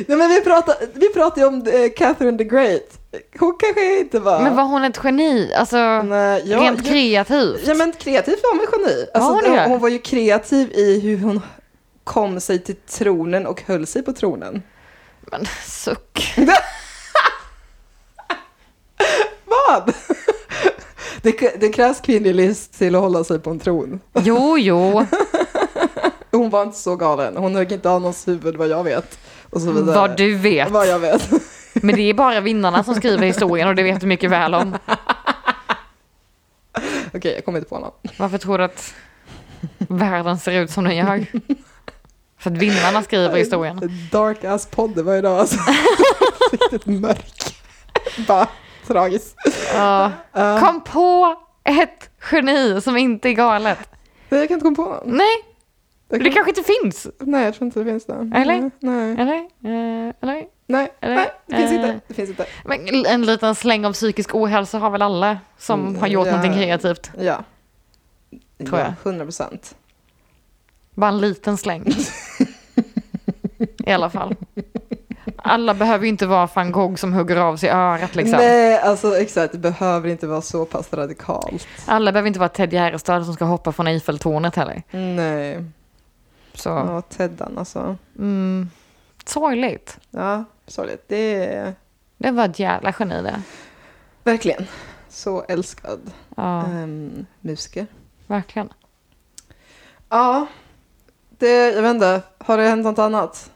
Speaker 2: Nej, men vi pratade, vi pratade ju om eh, Catherine the Great. Hon kanske inte var...
Speaker 1: Men var hon ett geni? Alltså
Speaker 2: Nej, ja,
Speaker 1: rent
Speaker 2: ja,
Speaker 1: kreativt.
Speaker 2: ja, men kreativt var hon väl geni? Alltså,
Speaker 1: hon
Speaker 2: hon,
Speaker 1: det?
Speaker 2: hon var ju kreativ i hur hon kom sig till tronen och höll sig på tronen.
Speaker 1: Men suck.
Speaker 2: Vad? Det, k- det krävs kvinnlig list till att hålla sig på en tron.
Speaker 1: Jo, jo.
Speaker 2: Hon var inte så galen. Hon högg inte av någons huvud vad jag vet. Och så vidare.
Speaker 1: Vad du vet.
Speaker 2: Vad jag vet.
Speaker 1: Men det är bara vinnarna som skriver historien och det vet du mycket väl om.
Speaker 2: Okej, jag kommer inte på någon.
Speaker 1: Varför tror du att världen ser ut som den gör? För att vinnarna skriver historien.
Speaker 2: Dark ass podd det var idag alltså. Riktigt mörk. Bara tragiskt.
Speaker 1: Ja.
Speaker 2: Ja.
Speaker 1: Kom på ett geni som inte är galet.
Speaker 2: Nej, jag kan inte komma på någon.
Speaker 1: Nej,
Speaker 2: Jag
Speaker 1: det
Speaker 2: kan...
Speaker 1: kanske inte finns.
Speaker 2: Nej, jag tror inte det finns det.
Speaker 1: Eller?
Speaker 2: Nej,
Speaker 1: Eller? Eh, eller?
Speaker 2: nej,
Speaker 1: Eller?
Speaker 2: nej, det finns
Speaker 1: Eh.
Speaker 2: inte. Det finns inte.
Speaker 1: Men en liten släng av psykisk ohälsa har väl alla som
Speaker 2: Mm,
Speaker 1: har gjort
Speaker 2: ja.
Speaker 1: någonting kreativt?
Speaker 2: Ja.
Speaker 1: Tror jag.
Speaker 2: Ja, 100 procent.
Speaker 1: Bara en liten släng. I alla fall. Alla behöver ju inte vara van Gogh som hugger av sig örat liksom.
Speaker 2: Nej, alltså exakt. Det behöver inte vara så pass radikalt.
Speaker 1: Alla behöver inte vara Ted Gärdestad som ska hoppa från Eiffeltornet heller.
Speaker 2: Nej.
Speaker 1: Så,
Speaker 2: Ja, Teddan alltså.
Speaker 1: mm, sorgligt.
Speaker 2: Ja, sorgligt. Det är
Speaker 1: Det var ett jävla geni det.
Speaker 2: verkligen så älskad
Speaker 1: Ja,
Speaker 2: ehm, musiker.
Speaker 1: verkligen.
Speaker 2: Ja, det, jag vet inte. Har det hänt något annat?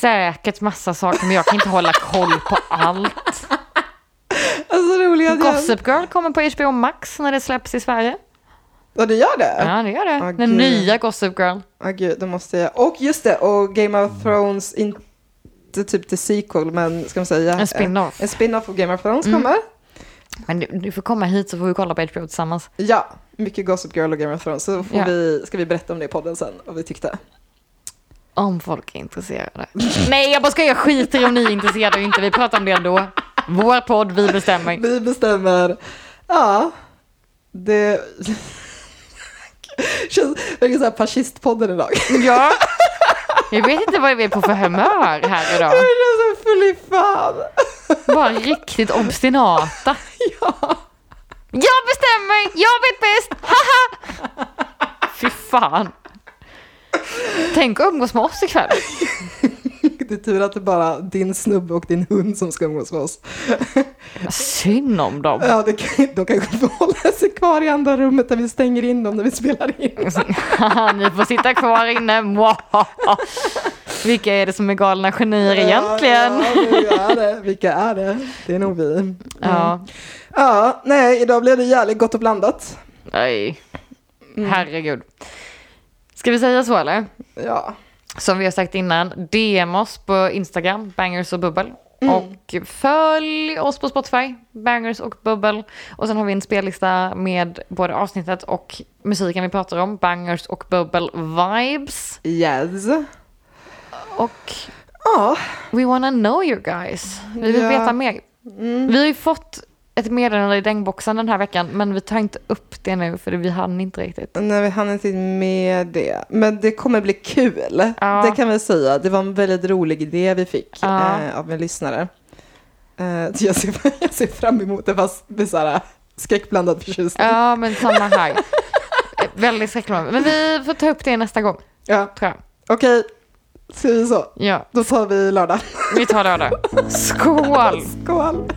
Speaker 1: Säkert massa saker men jag kan inte hålla koll på allt.
Speaker 2: Alltså roliga att jag...
Speaker 1: Gossip Girl kommer på HBO Max när det släpps i Sverige.
Speaker 2: Ja, det gör det? Ja.
Speaker 1: Ja, det gör det.
Speaker 2: Åh,
Speaker 1: Den
Speaker 2: gud.
Speaker 1: nya Gossip Girl.
Speaker 2: gud, då måste jag... Och just det, och Game of Thrones, inte typ the sequel, men ska man säga...
Speaker 1: En Mm. spin-off.
Speaker 2: En spin-off av Game of Thrones kommer.
Speaker 1: Men du, du får komma hit så får vi kolla på HBO tillsammans.
Speaker 2: Ja, mycket Gossip Girl och Game of Thrones. Så får
Speaker 1: Ja.
Speaker 2: vi, ska vi berätta om det i podden sen, vad vi tyckte.
Speaker 1: Om folk är intresserade. Nej, jag bara skojar. Jag skiter om ni är intresserade eller inte. Vi pratar om det ändå. Vår podd, vi bestämmer.
Speaker 2: Vi bestämmer. Ja, det... Känns verkligen så här fascistpodden idag.
Speaker 1: Ja. Jag vet inte vad vi är på för humör här idag.
Speaker 2: Jag är så full i fan.
Speaker 1: Bara riktigt obstinata.
Speaker 2: Ja.
Speaker 1: Jag bestämmer! Jag vet bäst! Haha! Fy fan. Tänk att umgås med oss ikväll.
Speaker 2: Det är tur att det är bara din snubbe och din hund som ska umgås med oss.
Speaker 1: Synd om dem.
Speaker 2: Ja, det kan, de kanske får hålla sig kvar i andra rummet där vi stänger in dem när vi spelar in.
Speaker 1: Ni får sitta kvar inne. Mwahaha. Vilka är det som är galna genier egentligen?
Speaker 2: Ja, vilka är det? Vilka är det? Det är nog vi. Mm.
Speaker 1: Ja,
Speaker 2: Ja, nej, idag blev det jävligt gott och blandat.
Speaker 1: nej.
Speaker 2: Mm.
Speaker 1: Herregud. Ska vi säga så eller?
Speaker 2: Ja,
Speaker 1: Som vi har sagt innan, DM oss på Instagram, bangers och bubbel. Och följ oss på Spotify, bangers och bubbel. Och sen har vi en spellista med både avsnittet och musiken vi pratar om, bangers och bubbel vibes.
Speaker 2: yes.
Speaker 1: Och
Speaker 2: Ja,
Speaker 1: We wanna know you guys. Vi vill
Speaker 2: Ja.
Speaker 1: veta mer. Vi har ju fått ett meddelande i regnboxen den här veckan men vi tar inte upp det nu för vi hann inte riktigt.
Speaker 2: nej, vi hann inte med det. Men det kommer bli kul.
Speaker 1: Ja.
Speaker 2: Det kan vi säga. Det var en väldigt rolig idé vi fick
Speaker 1: Ja.
Speaker 2: eh, av en lyssnare. Eh, så jag, ser, jag ser fram emot det fast med så här skräckblandad förtjusning.
Speaker 1: Ja men samma här. Eh, Väldigt skräckblandad. Men vi får ta upp det nästa gång
Speaker 2: Ja,
Speaker 1: tror jag.
Speaker 2: okej. Ska vi så?
Speaker 1: Ja,
Speaker 2: Då tar vi lördag.
Speaker 1: vi tar lördag. Skål!
Speaker 2: Skål!